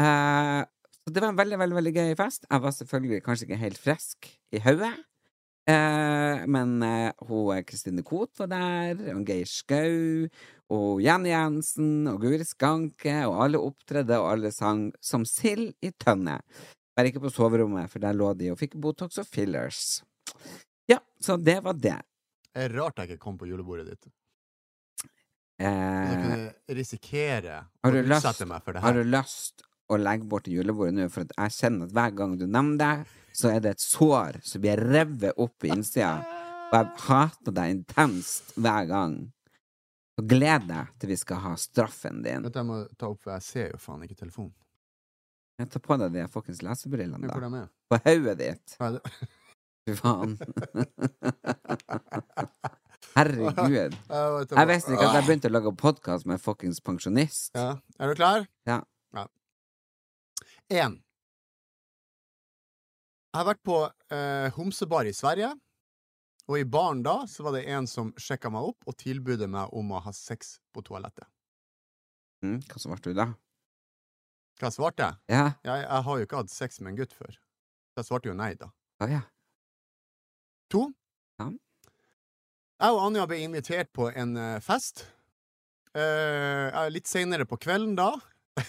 S4: Eh, så det var en veldig, veldig veldig gøy fest. Jeg var selvfølgelig kanskje ikke helt frisk i hodet. Eh, men eh, hun Kristine Koht var der, og Geir Skau, og Jenny Jensen, og Guri Skanke, og alle opptredde, og alle sang som sild i tønne. Bare ikke på soverommet, for der lå de og fikk Botox og fillers. Ja, så det var det.
S3: Det er rart jeg ikke kom på julebordet ditt. Jeg
S4: Eh,
S3: kunne risikere å
S4: Har du lyst-
S3: utsette meg for det
S4: Har
S3: her.
S4: du lyst å legge bort til julebordet nå, for at jeg kjenner at hver gang du nevner det, så er det et sår som blir revet opp i innsida. Og jeg hater deg intenst hver gang. Så gled deg til vi skal ha straffen din.
S3: Dette jeg må ta opp, for jeg ser jo faen ikke telefonen.
S4: Jeg tar på deg de fuckings lesebrillene,
S3: Men Hvor
S4: da.
S3: de er
S4: På hodet ditt.
S3: Hva er det? (laughs)
S4: Fy faen. Herregud.
S3: Jeg vet
S4: Jeg visste ikke at jeg begynte å lage podkast med fuckings pensjonist.
S3: ja. Er du klar?
S4: Ja.
S3: ja. En. Jeg har vært på eh, homsebar i Sverige, og i baren da så var det en som sjekka meg opp og tilbød meg om å ha sex på toalettet.
S4: Mm, hva svarte du da?
S3: Hva svarte jeg?
S4: Ja.
S3: Jeg, jeg har jo ikke hatt sex med en gutt før. Så jeg svarte jo nei, da.
S4: Å ja.
S3: To.
S4: Ja.
S3: Jeg og Anja ble invitert på en eh, fest. Eh, eh, litt seinere på kvelden da, (laughs)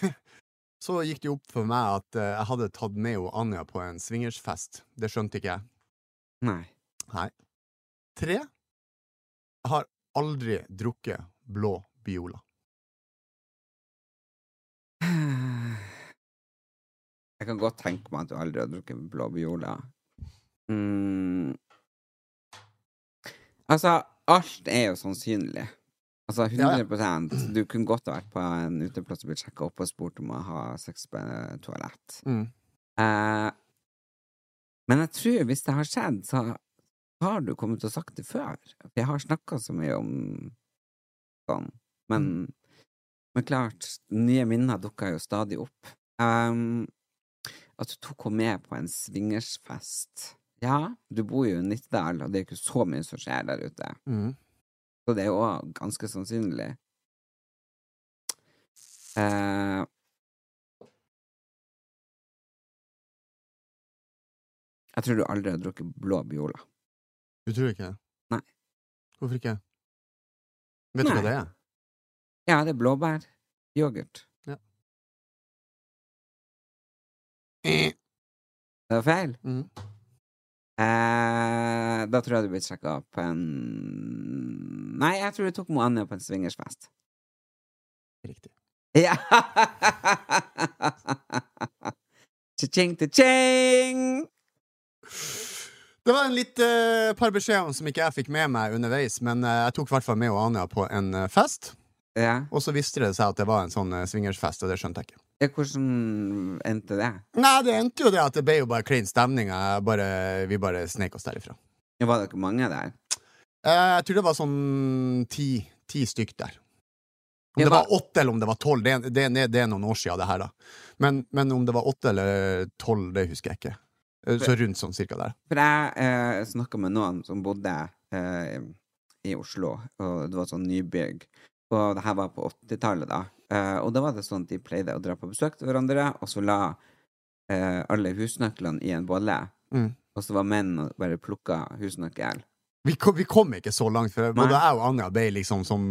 S3: så gikk det jo opp for meg at eh, jeg hadde tatt med jo Anja på en swingersfest. Det skjønte ikke jeg.
S4: Nei.
S3: Tre. Jeg har aldri drukket blå Biola.
S4: (sighs) Jeg kan godt tenke meg at du aldri har drukket blå Biola. Mm. Altså, alt er jo sannsynlig. Altså 100 Du kunne godt ha vært på en uteplass og blitt sjekka opp og spurt om å ha sex på eh, toalett.
S3: Mm.
S4: Eh, men jeg tror hvis det har skjedd, så har du kommet og sagt det før. For Jeg har snakka så mye om sånn. Men, men klart, nye minner dukker jo stadig opp. Ehm, at du tok henne med på en swingersfest. Ja, du bor jo i Nittedal, og det er ikke så mye som skjer der ute.
S3: Mm.
S4: Så det er jo også ganske sannsynlig. Eh, jeg tror du aldri har drukket blå Biola.
S3: Du tror ikke det?
S4: Nei.
S3: Hvorfor ikke? Vet du
S4: Nei.
S3: hva det er?
S4: Ja, det er blåbær. Yoghurt.
S3: Eh.
S4: Det var feil.
S3: Mm.
S4: Eh, da tror jeg du ble sjekka opp på en Nei, jeg tror du tok Moanne på en swingersfest. (laughs)
S3: Riktig.
S4: Ja! Cha-ching, cha-ching!
S3: Det var en litt eh, par beskjeder som ikke jeg fikk med meg underveis, men eh, jeg tok i hvert fall med Anja på en eh, fest,
S4: Ja.
S3: og så visste det seg at det var en sånn eh, swingersfest, og det skjønte jeg ikke.
S4: ja, hvordan endte det?
S3: Nei, det endte jo det at det ble jo bare klein stemning. Jeg Bare, vi bare snek oss derifra.
S4: Ja, Var det ikke mange der?
S3: Eh, Jeg tror det var sånn ti, ti stykk der. Om
S4: Ja,
S3: det
S4: da-
S3: var åtte eller om det var tolv, det, det, det, det er noen år siden det her, da. Men, men om det var åtte eller tolv, det husker jeg ikke. Eh, Så rundt sånn cirka der.
S4: For jeg eh, snakka med noen som bodde eh, i Oslo, og det var sånn nybygg. Og det her var på 80-tallet, da. Eh, og da var det sånn at de pleide å dra på besøk til hverandre, og så la eh, alle husnøklene i en bolle.
S3: Mm.
S4: Og så var menn og bare plukka husnøkkel.
S3: Vi kom, vi kom ikke så langt, for både
S4: Nei.
S3: jeg og Anja ble liksom som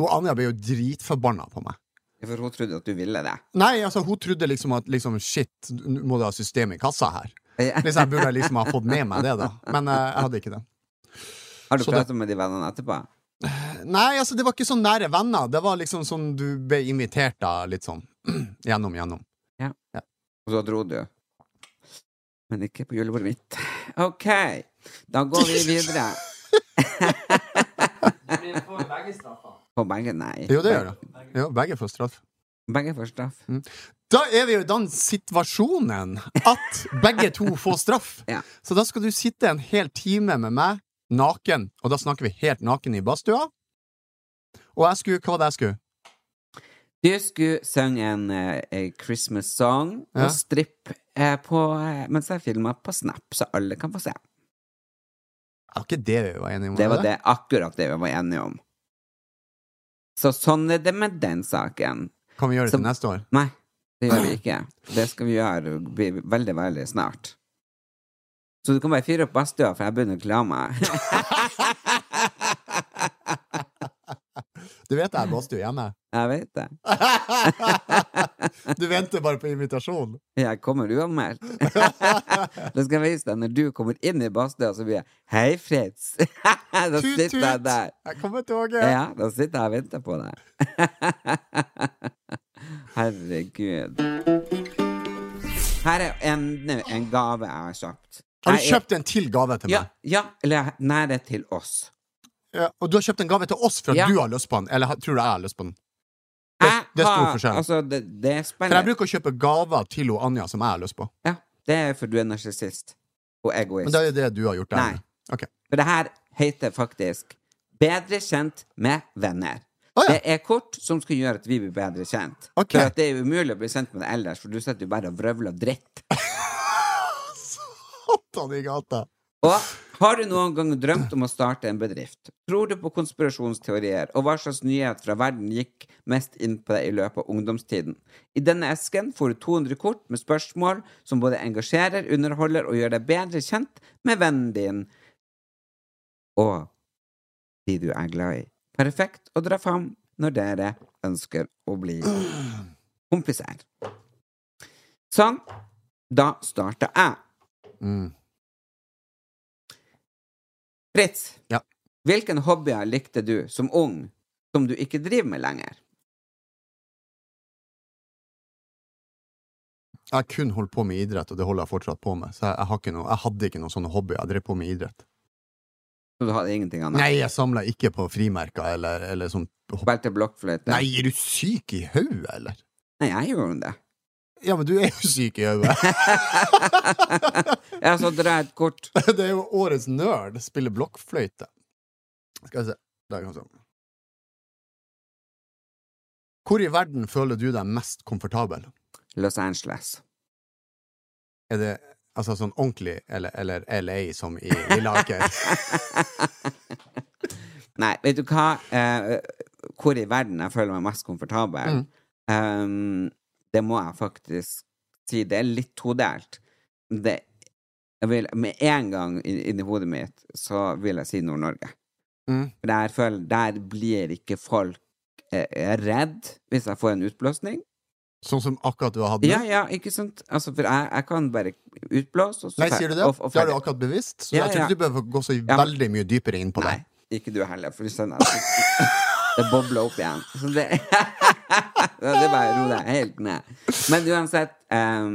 S3: Og Anja ble jo dritforbanna på meg.
S4: For hun trodde at du ville det.
S3: Nei, altså, hun trodde liksom at liksom, shit, nå må du ha system i kassa her. Liksom, jeg burde liksom ha fått med meg det, da. Men eh, jeg hadde ikke det.
S4: Har du
S3: Så det-
S4: pratet med de vennene etterpå?
S3: Nei, altså det var ikke sånn nære venner. Det var liksom sånn du ble invitert av litt sånn (clears throat) gjennom, gjennom.
S4: Og så dro du. Men ikke på julebordet mitt. OK, da går vi videre.
S5: Vi får begge straffer.
S4: På begge, nei.
S3: Jo, det Mm. gjør det. Jo, begge får straff.
S4: Begge får straff.
S3: Da er vi jo i den situasjonen at begge to får straff.
S4: (laughs) Ja.
S3: Så da skal du sitte en hel time med meg, naken, og da snakker vi helt naken i badstua. Og jeg skulle Hva var det jeg skulle?
S4: Du skulle synge en, eh, eh, Christmas song
S3: Ja.
S4: og strippe eh, på, eh, mens jeg filma på Snap, så alle kan få se.
S3: Det var ikke det vi var enige om?
S4: Det
S3: eller?
S4: var det, akkurat det vi var enige om. Så sånn er det med den saken.
S3: Kan vi gjøre det
S4: Så-
S3: til neste år?
S4: Nei, det gjør vi ikke. Det skal vi gjøre be- veldig, veldig snart. Så du kan bare fyre opp badstua, for jeg begynner å klare meg. (laughs)
S3: Du vet jeg er i badstue hjemme.
S4: Jeg vet det.
S3: Du venter bare på invitasjon.
S4: Jeg kommer uanmeldt. (laughs) Da skal jeg vise deg når du kommer inn i badstua, så blir jeg 'Hei, Fritz'. (laughs) (laughs) Da
S3: Tut,
S4: sitter jeg
S3: tut.
S4: der.
S3: Jeg kommer til toget.
S4: Ja, da sitter jeg og venter på deg. (laughs) Herregud. Her er enda en gave jeg har kjøpt.
S3: Har du
S4: Jeg er-
S3: kjøpt en til gave til
S4: Ja,
S3: meg?
S4: ja eller nei, det er til oss.
S3: Ja. Og du har kjøpt en gave til oss for at
S4: Ja.
S3: du har lyst på den? Eller ha- tror du jeg har lyst på den?
S4: Jeg
S3: det er stor
S4: har-
S3: forskjell.
S4: Altså, det, det
S3: For
S4: er
S3: jeg
S4: spennende.
S3: bruker å kjøpe gaver til hun Anja som jeg har lyst på.
S4: Ja, det er for du er narsissist og egoist.
S3: Men det er jo det du har gjort. Der.
S4: Nei.
S3: Ok.
S4: For det her heter faktisk Bedre kjent med venner.
S3: Å, ja.
S4: Det er kort som skal gjøre at vi blir bedre kjent.
S3: Ok.
S4: For at det er jo umulig å bli kjent med deg ellers, for du sitter jo bare og vrøvler dritt.
S3: Satan i gata!
S4: Og har du noen gang drømt om å starte en bedrift? Tror du på konspirasjonsteorier, og hva slags nyhet fra verden gikk mest inn på deg i løpet av ungdomstiden? I denne esken får du 200 kort med spørsmål som både engasjerer, underholder og gjør deg bedre kjent med vennen din og de du er glad i. Perfekt å dra fram når dere ønsker å bli kompiser. Sånn. Da starter jeg.
S3: Mm.
S4: Fritz,
S3: Ja.
S4: Hvilken hobbyer likte du som ung som du ikke driver med lenger?
S3: Jeg har kun holdt på med idrett, og det holder jeg fortsatt på med. Så jeg, jeg, har ikke noe, jeg hadde ikke noen sånne hobbyer. Jeg drev på med idrett.
S4: Så du hadde ingenting annet?
S3: Nei, jeg samla ikke på frimerker eller, eller sånn hopp-
S4: Spilte blokkfløyte?
S3: Nei, er du syk i hodet, eller?
S4: Nei, jeg gjorde det.
S3: Ja, men du er jo (laughs) syk i hodet.
S4: Ja, så drar jeg et kort.
S3: det er jo årets nerd. Spiller blokkfløyte. Skal vi se Der kan vi se. Hvor i verden føler du deg mest komfortabel?
S4: Los Angeles.
S3: Er det altså sånn ordentlig, eller, eller LA som i Lille (laughs) Aker?
S4: (laughs) Nei, vet du hva? Eh, hvor i verden jeg føler meg mest
S3: Mm.
S4: komfortabel? Um, det må jeg faktisk si. Det er litt todelt. Det, jeg vil, med en gang inn- inni hodet mitt så vil jeg si Nord-Norge.
S3: Mm.
S4: For Der, føler, der blir ikke folk eh, redd hvis jeg får en utblåsning.
S3: Sånn som akkurat du har hatt nå?
S4: Ja, ja, ikke sant? Altså, for jeg, jeg kan bare utblåse, og så
S3: Nei,
S4: fer-
S3: sier du det?
S4: og- og
S3: det har du
S4: ferdig.
S3: akkurat bevisst, så
S4: Ja,
S3: jeg tror
S4: ja.
S3: ikke du behøver gå så
S4: men-
S3: veldig mye dypere inn på det.
S4: Nei, ikke du heller, for du
S3: (laughs)
S4: skjønner at det bobler opp igjen. Så det (laughs) Ja, Det er bare å roe deg helt ned. Men uansett em,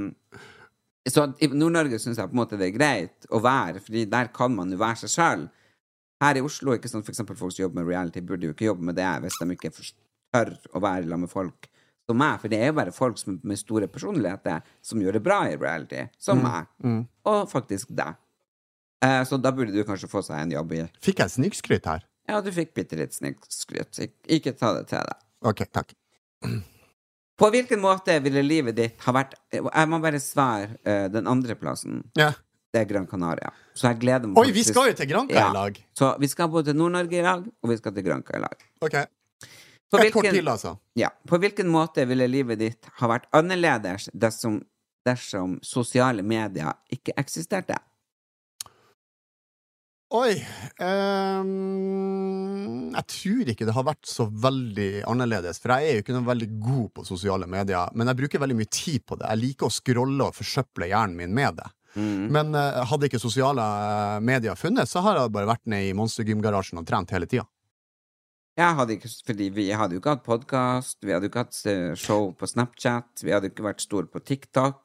S4: Så i Nord-Norge syns jeg på en måte det er greit å være, Fordi der kan man jo være seg sjøl. Her i Oslo, ikke sant, for eksempel folk som jobber med reality, burde jo ikke jobbe med det hvis de ikke forst- tør å være sammen med folk som meg. For det er jo bare folk som, med store personligheter som gjør det bra i reality,
S3: Mm,
S4: som meg. Og faktisk deg. Eh, Så da burde du kanskje få seg en jobb i
S3: Fikk jeg snikskryt her?
S4: ja, du fikk bitte litt snikskryt. Ik- Ikke ta det til deg.
S3: Ok, takk.
S4: På hvilken måte ville livet ditt ha vært Jeg må bare svare eh, den andre plassen.
S3: Ja.
S4: Det er Gran Canaria. Så jeg gleder meg
S3: Oi, vi
S4: faktisk-
S3: skal jo til Granca
S4: Ja.
S3: i lag!
S4: Så vi skal både til Nord-Norge i lag, og vi skal til Granca i lag.
S3: Ok.
S4: På
S3: Et kort til, altså.
S4: ja, på hvilken måte ville livet ditt ha vært annerledes dersom, dersom sosiale medier ikke eksisterte?
S3: Oi ehm, Jeg tror ikke det har vært så veldig annerledes, for jeg er jo ikke noe veldig god på sosiale medier, men jeg bruker veldig mye tid på det. Jeg liker å scrolle og forsøple hjernen min med det.
S4: Mm.
S3: Men eh, hadde ikke sosiale eh, medier funnes, så har jeg bare vært ned i monstergymgarasjen og trent hele tida.
S4: Jeg hadde ikke, fordi vi hadde jo ikke hatt podkast, vi hadde jo ikke hatt eh, show på Snapchat, vi hadde jo ikke vært store på TikTok.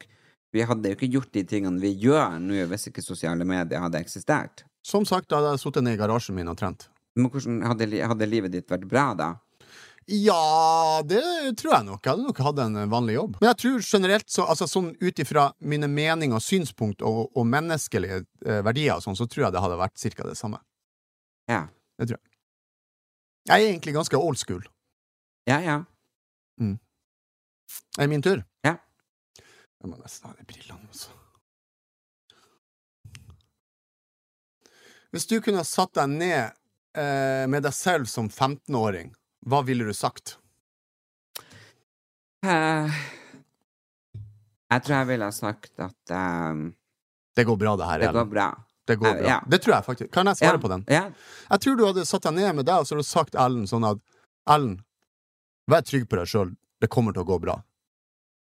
S4: Vi hadde jo ikke gjort de tingene vi gjør nå hvis ikke sosiale medier hadde eksistert.
S3: Som sagt, da hadde jeg sittet ned i garasjen min og trent.
S4: Men hvordan hadde, li- hadde livet ditt vært bra da?
S3: Ja, det tror jeg nok. Jeg hadde nok hatt en vanlig jobb. Men jeg tror generelt, så, altså, sånn ut ifra mine meninger og synspunkt og, og menneskelige eh, verdier og sånn, så tror jeg det hadde vært cirka det samme.
S4: Ja.
S3: Det tror jeg. Jeg er egentlig ganske old school.
S4: Ja, ja.
S3: Er det min tur?
S4: Ja.
S3: Jeg må nesten ha de brillene også. Hvis du kunne ha satt deg ned eh, med deg selv som 15-åring, hva ville du sagt?
S4: Eh, jeg tror jeg ville ha sagt at eh,
S3: Det går bra, det her.
S4: det
S3: Ellen.
S4: går bra.
S3: Det går
S4: Eh,
S3: bra.
S4: ja.
S3: Det tror jeg faktisk. Kan jeg svare
S4: Ja,
S3: på den?
S4: Ja.
S3: Jeg tror du hadde satt deg ned med deg, og så hadde du sagt Ellen sånn at Ellen, vær trygg på deg sjøl, det kommer til å gå bra.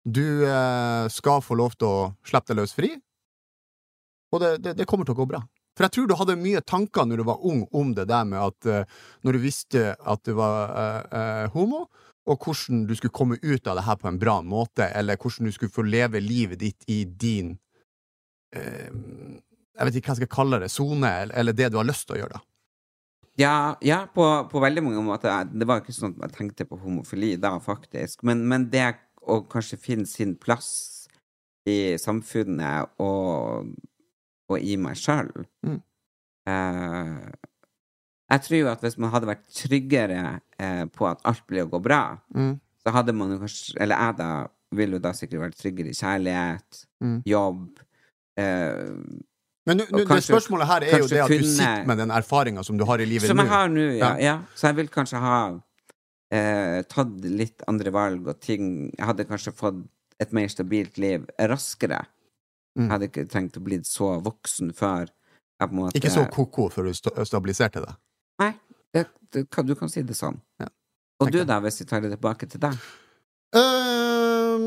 S3: Du eh, skal få lov til å slippe deg løs fri, og det, det, det kommer til å gå bra. For jeg tror du hadde mye tanker når du var ung om det der med at eh, når du visste at du var eh, eh, homo, og hvordan du skulle komme ut av det her på en bra måte, eller hvordan du skulle få leve livet ditt i din eh, Jeg vet ikke hva jeg skal kalle det, sone, eller, eller det du har lyst til å gjøre, da.
S4: Ja, ja på, på veldig mange måter. Det var ikke sånn at jeg tenkte på homofili da, faktisk. Men, men det å kanskje finne sin plass i samfunnet og, og i meg sjøl
S3: Mm.
S4: eh, Jeg tror jo at hvis man hadde vært tryggere eh, på at alt blir å gå bra,
S3: Mm.
S4: så hadde man jo kanskje Eller jeg da ville jo da sikkert vært tryggere i kjærlighet,
S3: Mm.
S4: jobb eh,
S3: Men nu,
S4: Og
S3: nu, det
S4: kanskje-
S3: spørsmålet her er jo
S4: kanskje
S3: det at du
S4: kunne-
S3: sitter med den erfaringa som du har i livet
S4: Som
S3: nå.
S4: jeg har nå, ja.
S3: Ja.
S4: ja. Så jeg vil kanskje ha eh, tatt litt andre valg og ting Jeg hadde kanskje fått et mer stabilt liv raskere.
S3: Mm.
S4: Jeg hadde ikke trengt å bli så voksen før jeg på en måte
S3: Ikke så ko-ko før du sta- stabiliserte deg.
S4: Nei, det, det, kan- du kan si det sånn.
S3: Ja.
S4: Og du,
S3: Ok.
S4: da, hvis vi tar det tilbake til deg?
S3: Øhm,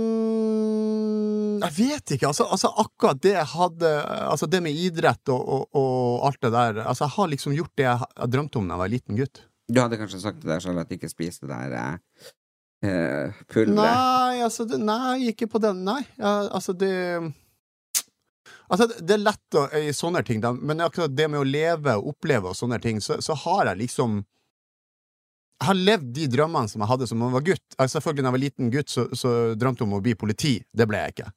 S3: jeg Jeg vet ikke. Altså, altså akkurat det jeg hadde Altså det med idrett og, og, og alt det der Altså Jeg har liksom gjort det jeg, jeg drømte om da jeg var liten gutt.
S4: Du hadde kanskje sagt til deg selv at ikke spis det der eh, eh, pulveret.
S3: Nei, altså det, Nei, ikke på den. Nei. Ja, altså det Altså, det- det er lett å, i sånne ting, da, men akkurat det med å leve og oppleve og sånne ting, så, så har jeg liksom Jeg har levd de drømmene som jeg hadde som jeg var gutt. Altså, selvfølgelig, da jeg var liten gutt, så, så drømte jeg om å bli politi. Det ble jeg ikke.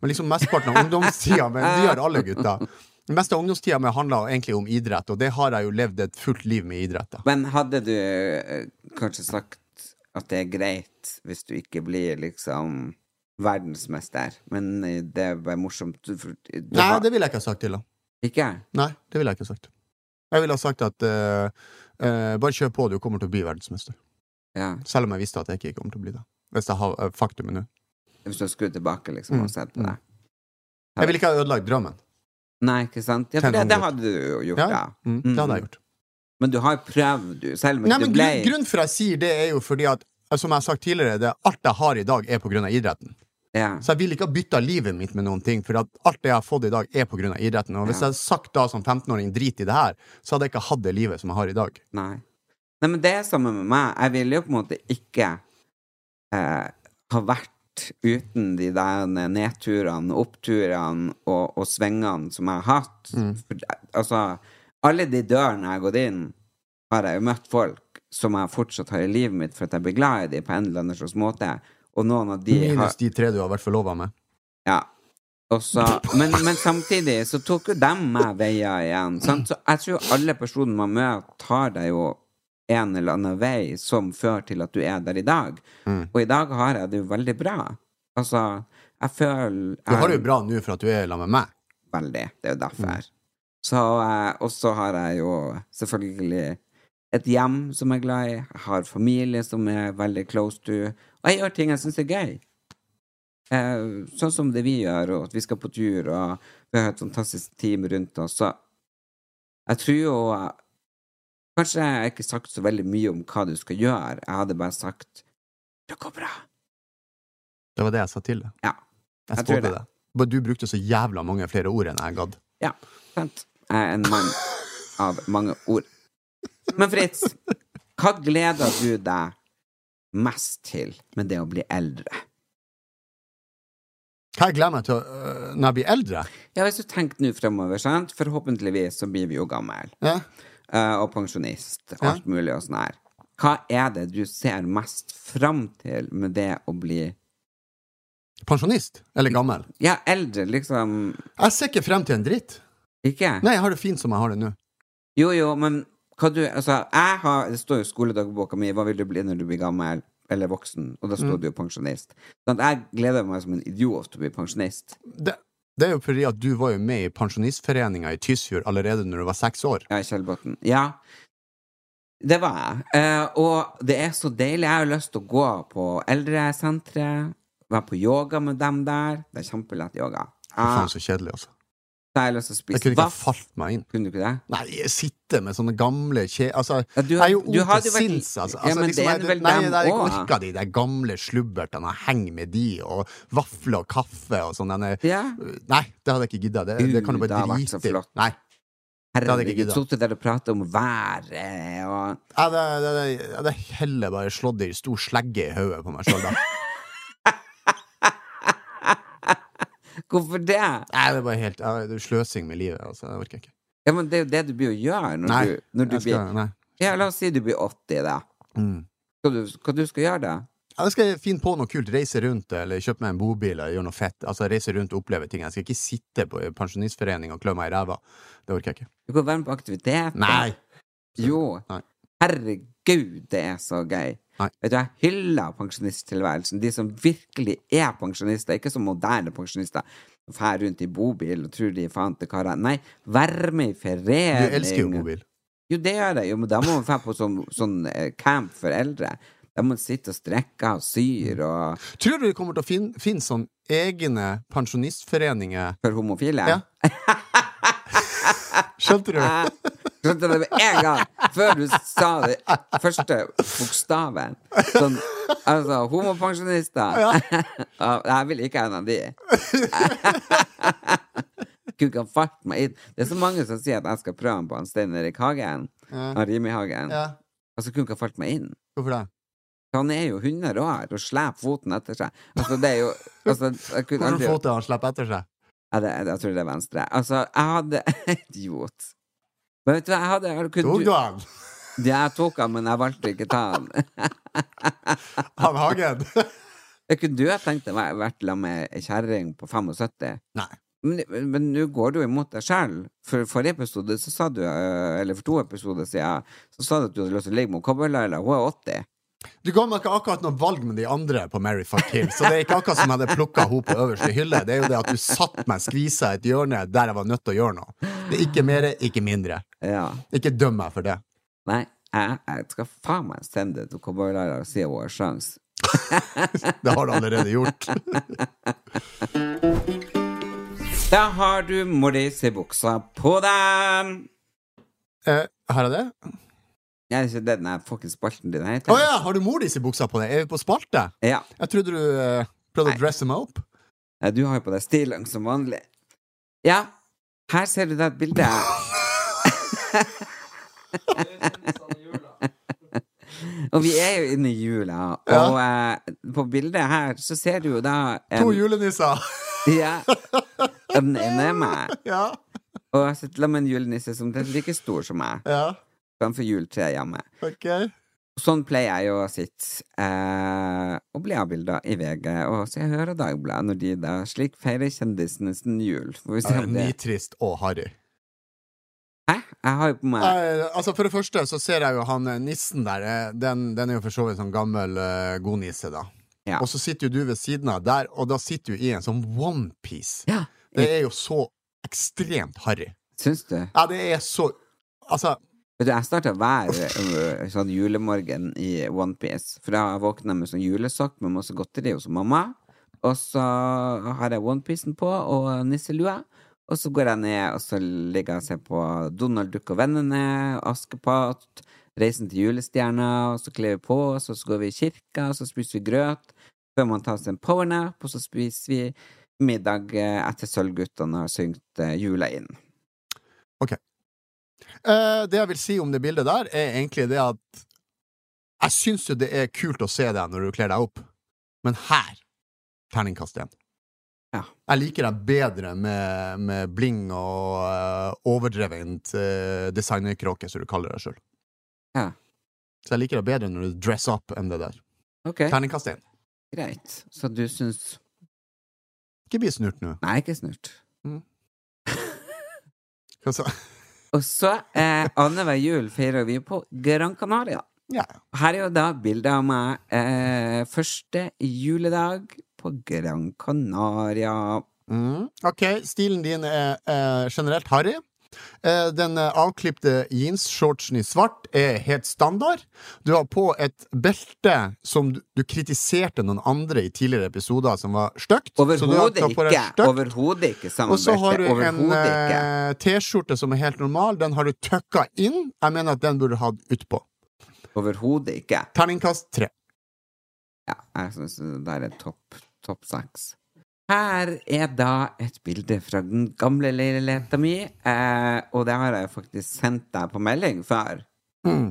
S3: Men liksom mesteparten (laughs) av ungdomstida mi Det gjør alle gutter. (laughs) Det meste av ungdomstida mi handla egentlig om idrett, og det har jeg jo levd et fullt liv med idrett. da
S4: Men hadde du eh, kanskje sagt at det er greit hvis du ikke blir liksom verdensmester, men eh, det er bare morsomt du, for- du
S3: Nei,
S4: har-
S3: det ville jeg ikke ha sagt til ham.
S4: Ikke?
S3: Nei, det ville jeg ikke sagt. Jeg ville ha sagt at eh, eh, bare kjør på, du kommer til å bli verdensmester.
S4: Ja.
S3: Selv om jeg visste at jeg ikke kommer til å bli det. Hvis jeg har eh, faktumet nå.
S4: Hvis du skrur tilbake liksom,
S3: Mm,
S4: og sett på
S3: mm.
S4: det.
S3: Jeg ville ikke ha ødelagt drømmen.
S4: Nei, ikke sant? Ja, for det,
S3: Tenåring
S4: det
S3: gutt.
S4: hadde du jo gjort,
S3: Ja,
S4: ja.
S3: Mm, det hadde jeg gjort.
S4: Men du har prøvd, du. Selv om
S3: Nei,
S4: du
S3: men
S4: ble
S3: grunn, grunnen for jeg sier det, er jo fordi at eh, som jeg har sagt tidligere, det, alt jeg har i dag, er på grunn av idretten.
S4: ja.
S3: Så jeg vil ikke ha bytta livet mitt med noen ting, for at alt det jeg har fått i dag, er på grunn av idretten. Og hvis
S4: Ja.
S3: jeg hadde sagt da som 15-åring drit i det her, så hadde jeg ikke hatt det livet som jeg har i dag.
S4: Nei. Nei, men det er samme med meg. Jeg ville jo på en måte ikke eh, ha vært uten de der nedturene, oppturene og, og svingene som jeg har hatt. For, altså, alle de dørene jeg har gått inn, har jeg jo møtt folk som jeg fortsatt har i livet mitt for at jeg blir glad i dem på en eller annen slags måte. Og noen av de har
S3: Minus de tre du har vært forlova med.
S4: Ja. Og så- men, men samtidig så tok jo dem meg veier igjen. Sant? Så jeg tror alle personer man møter, tar deg jo en eller annen vei som fører til at du er der i dag.
S3: Mm.
S4: Og i dag har jeg det jo veldig bra. Altså, jeg føler
S3: Du har det jo bra nå for at du er sammen med meg.
S4: veldig. Det er jo derfor. Så, eh, og så har jeg jo selvfølgelig et hjem som jeg er glad i. Jeg har familie som jeg er veldig close to. Og jeg gjør ting jeg syns er gøy. Eh, sånn som det vi gjør, og at vi skal på tur, og vi har et fantastisk team rundt oss. Så jeg tror jo eh, Kanskje jeg har ikke sagt så veldig mye om hva du skal gjøre. Jeg hadde bare sagt 'Det går bra'.
S3: Det var det jeg sa til deg.
S4: Ja.
S3: Jeg
S4: Jeg tror
S3: spådde
S4: det.
S3: det. Bare du brukte så jævla mange flere ord enn jeg gadd.
S4: Ja, sant. Jeg er en mann av mange ord. Men Fritz, hva gleder du deg mest til med det å bli eldre?
S3: Hva jeg gleder meg til øh, når jeg blir eldre?
S4: Ja, hvis du tenker nå fremover, sant? Forhåpentligvis så blir vi jo gammel.
S3: Ja.
S4: eh, Og pensjonist. og Alt mulig og sånn her. Hva er det du ser mest fram til med det å bli
S3: Pensjonist? Eller gammel?
S4: Ja, eldre, liksom.
S3: Jeg ser ikke frem til en dritt.
S4: Ikke?
S3: Nei, jeg har det fint som jeg har det nå.
S4: Jo, jo, men hva du Altså, jeg har Det står jo i skoledagboka mi 'Hva vil du bli når du blir gammel?' Eller voksen, og da står
S3: Mm.
S4: det jo pensjonist. Sånn at jeg gleder meg som en idiot til å bli pensjonist.
S3: Det, det er jo fordi at du var jo med i Pensjonistforeninga i Tysfjord allerede når du var seks år.
S4: Ja, i Kjellbotn. Ja. Det var jeg. Eh, og det er så deilig. Jeg har jo lyst til å gå på eldresenteret, være på yoga med dem der. Det er kjempelett yoga.
S3: Fy
S4: Ah,
S3: Faen, så kjedelig, altså.
S4: så har jeg lyst til å
S3: Jeg
S4: spise
S3: kunne ikke ha
S4: vaff.
S3: falt meg inn.
S4: Kunne du ikke det?
S3: Nei, jeg sitter med sånne gamle kje... Altså,
S4: Ja, du
S3: jeg er jo
S4: har-
S3: ung
S4: du har
S3: til
S4: jo vært-
S3: sinns, altså.
S4: Ja,
S3: altså
S4: men
S3: liksom,
S4: det er
S3: jeg,
S4: vel
S3: nei,
S4: dem
S3: jeg
S4: også.
S3: orker de der gamle slubbertene. Jeg henger med de, og vafler og kaffe og sånn. denne-
S4: Ja.
S3: Nei, det hadde jeg ikke gidda. Det, det kan du
S4: Gud, det
S3: bare
S4: har vært så
S3: drite i.
S4: flott.
S3: Nei. hadde jeg ikke
S4: Herregud,
S3: giddet.
S4: sittet der og pratet om været
S3: Jeg
S4: og
S3: hadde, jeg hadde, jeg hadde heller bare slått det i stor slegge i hodet på meg sjøl, da.
S4: Hvorfor det?
S3: Nei, det er bare helt jeg- det er sløsing med livet. Altså, det orker jeg ikke.
S4: Ja, men det er jo det du blir å gjøre når
S3: Nei.
S4: du, når du
S3: jeg skal,
S4: blir
S3: nei.
S4: Ja, la oss si du blir 80, da.
S3: Mm.
S4: Hva du, hva du skal gjøre da?
S3: Ja, da skal jeg finne på noe kult. Reise rundt, eller kjøpe meg en bobil, eller gjøre noe fett. Altså, reise rundt og oppleve ting. Jeg skal ikke sitte på en pensjonistforening og klø meg i ræva. Det orker jeg ikke.
S4: Du kan være med på aktiviteter.
S3: Nei!
S4: Jo.
S3: Nei.
S4: Herregud, det er så gøy.
S3: Nei.
S4: Vet du, Jeg hyller pensjonisttilværelsen. De som virkelig er pensjonister, ikke som moderne pensjonister. Fær rundt i bobil og tror de er faen til karer. Nei, vær med i
S3: Du
S4: forening.
S3: elsker jo bobil.
S4: Jo, det gjør jeg. Jo, men da må man dra på sånn, sånn eh, camp for eldre. Da må man sitte og strekke og syr og
S3: Tror du det kommer til å finne, finne sånn egne pensjonistforeninger
S4: For homofile. (laughs)
S3: Ja. Skjønte du?
S4: Eh, (laughs) Skjønte det med en gang! Før du sa det første bokstaven. Sånn, altså, homopensjonister. (laughs) Ja, Jeg vil ikke ha en av de. (laughs) Gud, han falt meg inn. Det er så mange som sier at jeg skal prøve på han Stein Erik Hagen.
S3: Ja.
S4: Han Rimi Hagen.
S3: Ja.
S4: Altså, kunne ikke ha falt meg inn.
S3: Hvorfor det?
S4: Han er jo 100 år og sleper foten etter seg. Altså, det er
S3: (laughs)
S4: jo altså, jeg, kunne
S3: Hvordan
S4: aldri,
S3: fot er han slipper etter seg?
S4: ja, det, jeg tror det er venstre. Altså, jeg hadde (laughs) Idiot. Men vet du hva, jeg hadde jeg kunne-
S3: Tok du han?
S4: Jeg tok han, men jeg valgte ikke ta han. (laughs)
S3: Han Hagen?
S4: Jeg kunne du ha tenkt deg å være- vært sammen med ei kjerring på 75?
S3: Nei.
S4: Men men nå går du imot deg sjøl. For forrige episode, så sa du, eh, eller for to episoder siden, så sa du at du hadde lyst til å ligge med Cowboy-Laila. Hun er 80.
S3: (laughs) Du ga meg ikke akkurat noe valg med de andre på Mary Fuck Kill, så det er ikke akkurat som jeg hadde plukka henne på øverste hylle. Det er jo det at du satt meg skvisa i et hjørne der jeg var nødt til å gjøre noe. Det er ikke mer, ikke mindre.
S4: Ja.
S3: Ikke døm meg for det.
S4: Nei, jeg, jeg skal faen meg sende det til Cowboy-Laila og si hun har sjans.
S3: Det har du allerede gjort.
S4: Da har du Morris i buksa på deg!
S3: (laughs) Eh, har jeg det?
S4: Er det ikke det den her fuckings spalten din heter?
S3: Å ja, har du mor di i buksa på deg? Er vi på spalte?
S4: ja!
S3: Jeg trodde du eh, prøvde å dresse meg opp.
S4: Nei, Du har jo på deg stillongs som vanlig. Ja, her ser du det
S3: (laughs)
S4: bildet. og vi er jo inne i jula, og eh, på bildet her så ser du jo da en,
S3: To julenisser.
S4: (laughs)
S3: (laughs)
S4: Ja. Den ene er meg,
S3: ja.
S4: og jeg sitter sammen med en julenisse som er like stor som meg,
S3: Ja.
S4: framfor juletreet hjemme.
S3: Ok.
S4: Sånn pleier jeg jo å sitte eh, og bli avbilda i VG, og så jeg hører Dagbladet når de da slik feirer kjendisene sin jul. Får vi se om det
S3: Nitrist og harry.
S4: Hæ? Jeg har jo på meg
S3: Eh, altså For det første så ser jeg jo han eh, nissen der. eh, Den, den er jo for så vidt sånn gammel eh, god nisse, da.
S4: Ja.
S3: Og så sitter jo du ved siden av der, og da sitter du i en sånn onepiece.
S4: Ja,
S3: Det er jo så ekstremt harry.
S4: syns du?
S3: Ja, det er så Altså,
S4: Vet du, jeg starter hver ø, sånn julemorgen i OnePiece. For da våkner jeg med sånn julesokk med masse godteri hos mamma. Og så har jeg onepiecen på og nisselua. Og så går jeg ned, og så ligger jeg og ser på Donald Duck og vennene, Askepott, Reisen til julestjerna, og så kler vi på oss, og så går vi i kirka, og så spiser vi grøt før man tar seg en powernap, og så spiser vi middag eh, etter Sølvguttene har syngt eh, jula inn.
S3: eh, det jeg vil si om det bildet der, er egentlig det at Jeg syns jo det er kult å se deg når du kler deg opp, men her Terningkast én.
S4: Ja.
S3: Jeg liker deg bedre med, med bling og eh, overdrevent eh, designerkråke, som du kaller deg sjøl.
S4: Ja.
S3: Så jeg liker deg bedre når du dress up enn det der.
S4: Ok,
S3: Terningkast én.
S4: greit. Så du syns
S3: Ikke bli snurt nå.
S4: Nei, ikke snurt.
S3: Hva sa- (laughs)
S4: Og så, eh, annenhver jul feirer vi på Gran Canaria.
S3: Ja.
S4: Her er jo da bildet av meg eh, første juledag på Gran Canaria.
S3: Mm. Ok, stilen din er eh, generelt harry. Eh, den eh, avklipte jeansshortsen i svart er helt standard. Du har på et belte som du, du kritiserte noen andre i tidligere episoder som var stygt. Så du har
S4: Overhodet
S3: tatt på deg
S4: ikke.
S3: stygt.
S4: Overhodet ikke
S3: Og så har
S4: samarbeidet.
S3: du en
S4: Overhodet ikke.
S3: eh, T-skjorte som er helt normal. Den har du tøkka inn. Jeg mener at den burde du hatt utpå.
S4: Overhodet ikke.
S3: Terningkast tre.
S4: Ja, jeg syns det der er topp topp seks. Her er da et bilde fra den gamle leiligheta mi, eh, og det har jeg faktisk sendt deg på melding før. Fikk
S3: Hmm.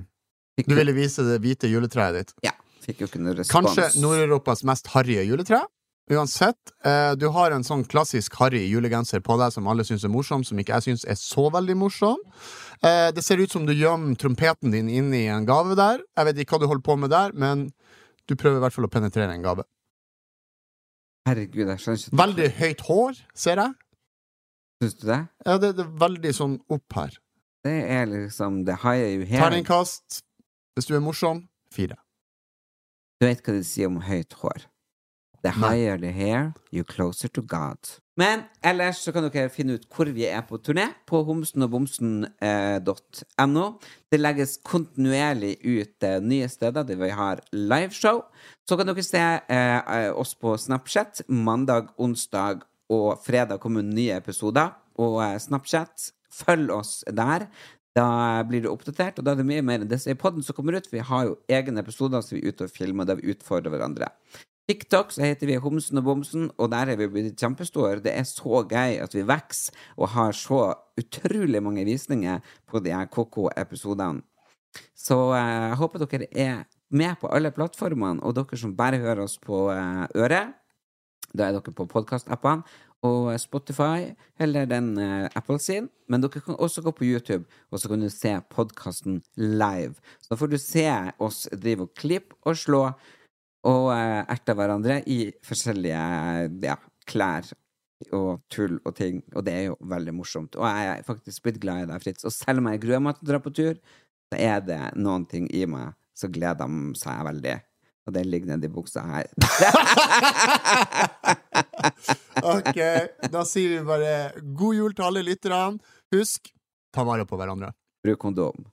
S3: Du
S4: jo-
S3: ville vise det hvite juletreet ditt.
S4: Ja, fikk jo ikke noe respons.
S3: Kanskje Nord-Europas mest harrige juletre. Uansett, eh, du har en sånn klassisk harry julegenser på deg som alle syns er morsom, som ikke jeg syns er så veldig morsom. Eh, det ser ut som du gjemmer trompeten din inni en gave der. Jeg vet ikke hva du holder på med der, men du prøver i hvert fall å penetrere en gave.
S4: Herregud, jeg skjønner ikke
S3: Veldig høyt hår, ser jeg.
S4: Syns du det?
S3: Ja, det, det er veldig sånn opp her.
S4: Det er liksom The high you hear.
S3: Terningkast, hvis du er morsom, fire.
S4: Du vet hva de sier om høyt hår. The
S3: Nei.
S4: higher the hair, you closer to God. Men ellers så kan dere finne ut hvor vi er på turné på eh, homsenogbomsen.no. Det legges kontinuerlig ut eh, nye steder der vi har liveshow. Så kan dere se eh, eh, oss på Snapchat mandag, onsdag og fredag kommer nye episoder. Og eh, Snapchat, følg oss der. Da blir det oppdatert, og da er det mye mer enn det som er i podden som kommer ut. Vi har jo egne episoder som vi er ute og filmer, der vi utfordrer hverandre. TikTok så heter vi Homsen og Bomsen, og der er vi blitt kjempestore. Det er så gøy at vi vokser og har så utrolig mange visninger på de her KK-episodene. Så eh, jeg håper dere er med på alle plattformene, og dere som bare hører oss på eh, øret, da er dere på podkastappene og Spotify eller den eh, Apple sin. Men dere kan også gå på YouTube, og så kan du se podkasten live. Så da får du se oss drive og klippe og slå og eh, erte hverandre i forskjellige eh, ja, klær og tull og ting, og det er jo veldig morsomt. Og jeg er faktisk blitt glad i deg, Fritz. Og selv om jeg gruer meg til å dra på tur, så er det noen ting i meg som gleder seg veldig. Og det ligger nedi buksa her.
S3: Ok, da sier vi bare god jul til alle lytterne. Husk, ta vare på hverandre.
S4: Bruk kondom.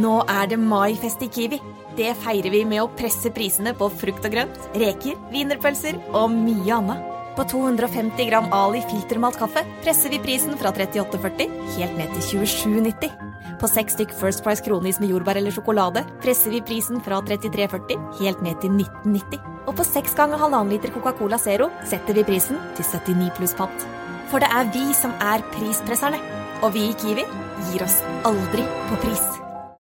S6: Nå er det maifest i Kiwi. Det feirer vi med å presse prisene på frukt og grønt, reker, wienerpølser og mye annet. På 250 gram Ali filtermalt kaffe presser vi prisen fra 38,40 helt ned til 27,90. På seks stykk First Price kronis med jordbær eller sjokolade presser vi prisen fra 33,40 helt ned til 19,90. Og på seks ganger halvannen liter Coca-Cola Zero setter vi prisen til 79 pluss pant. For det er vi som er prispresserne. Og vi i Kiwi gir oss aldri på pris.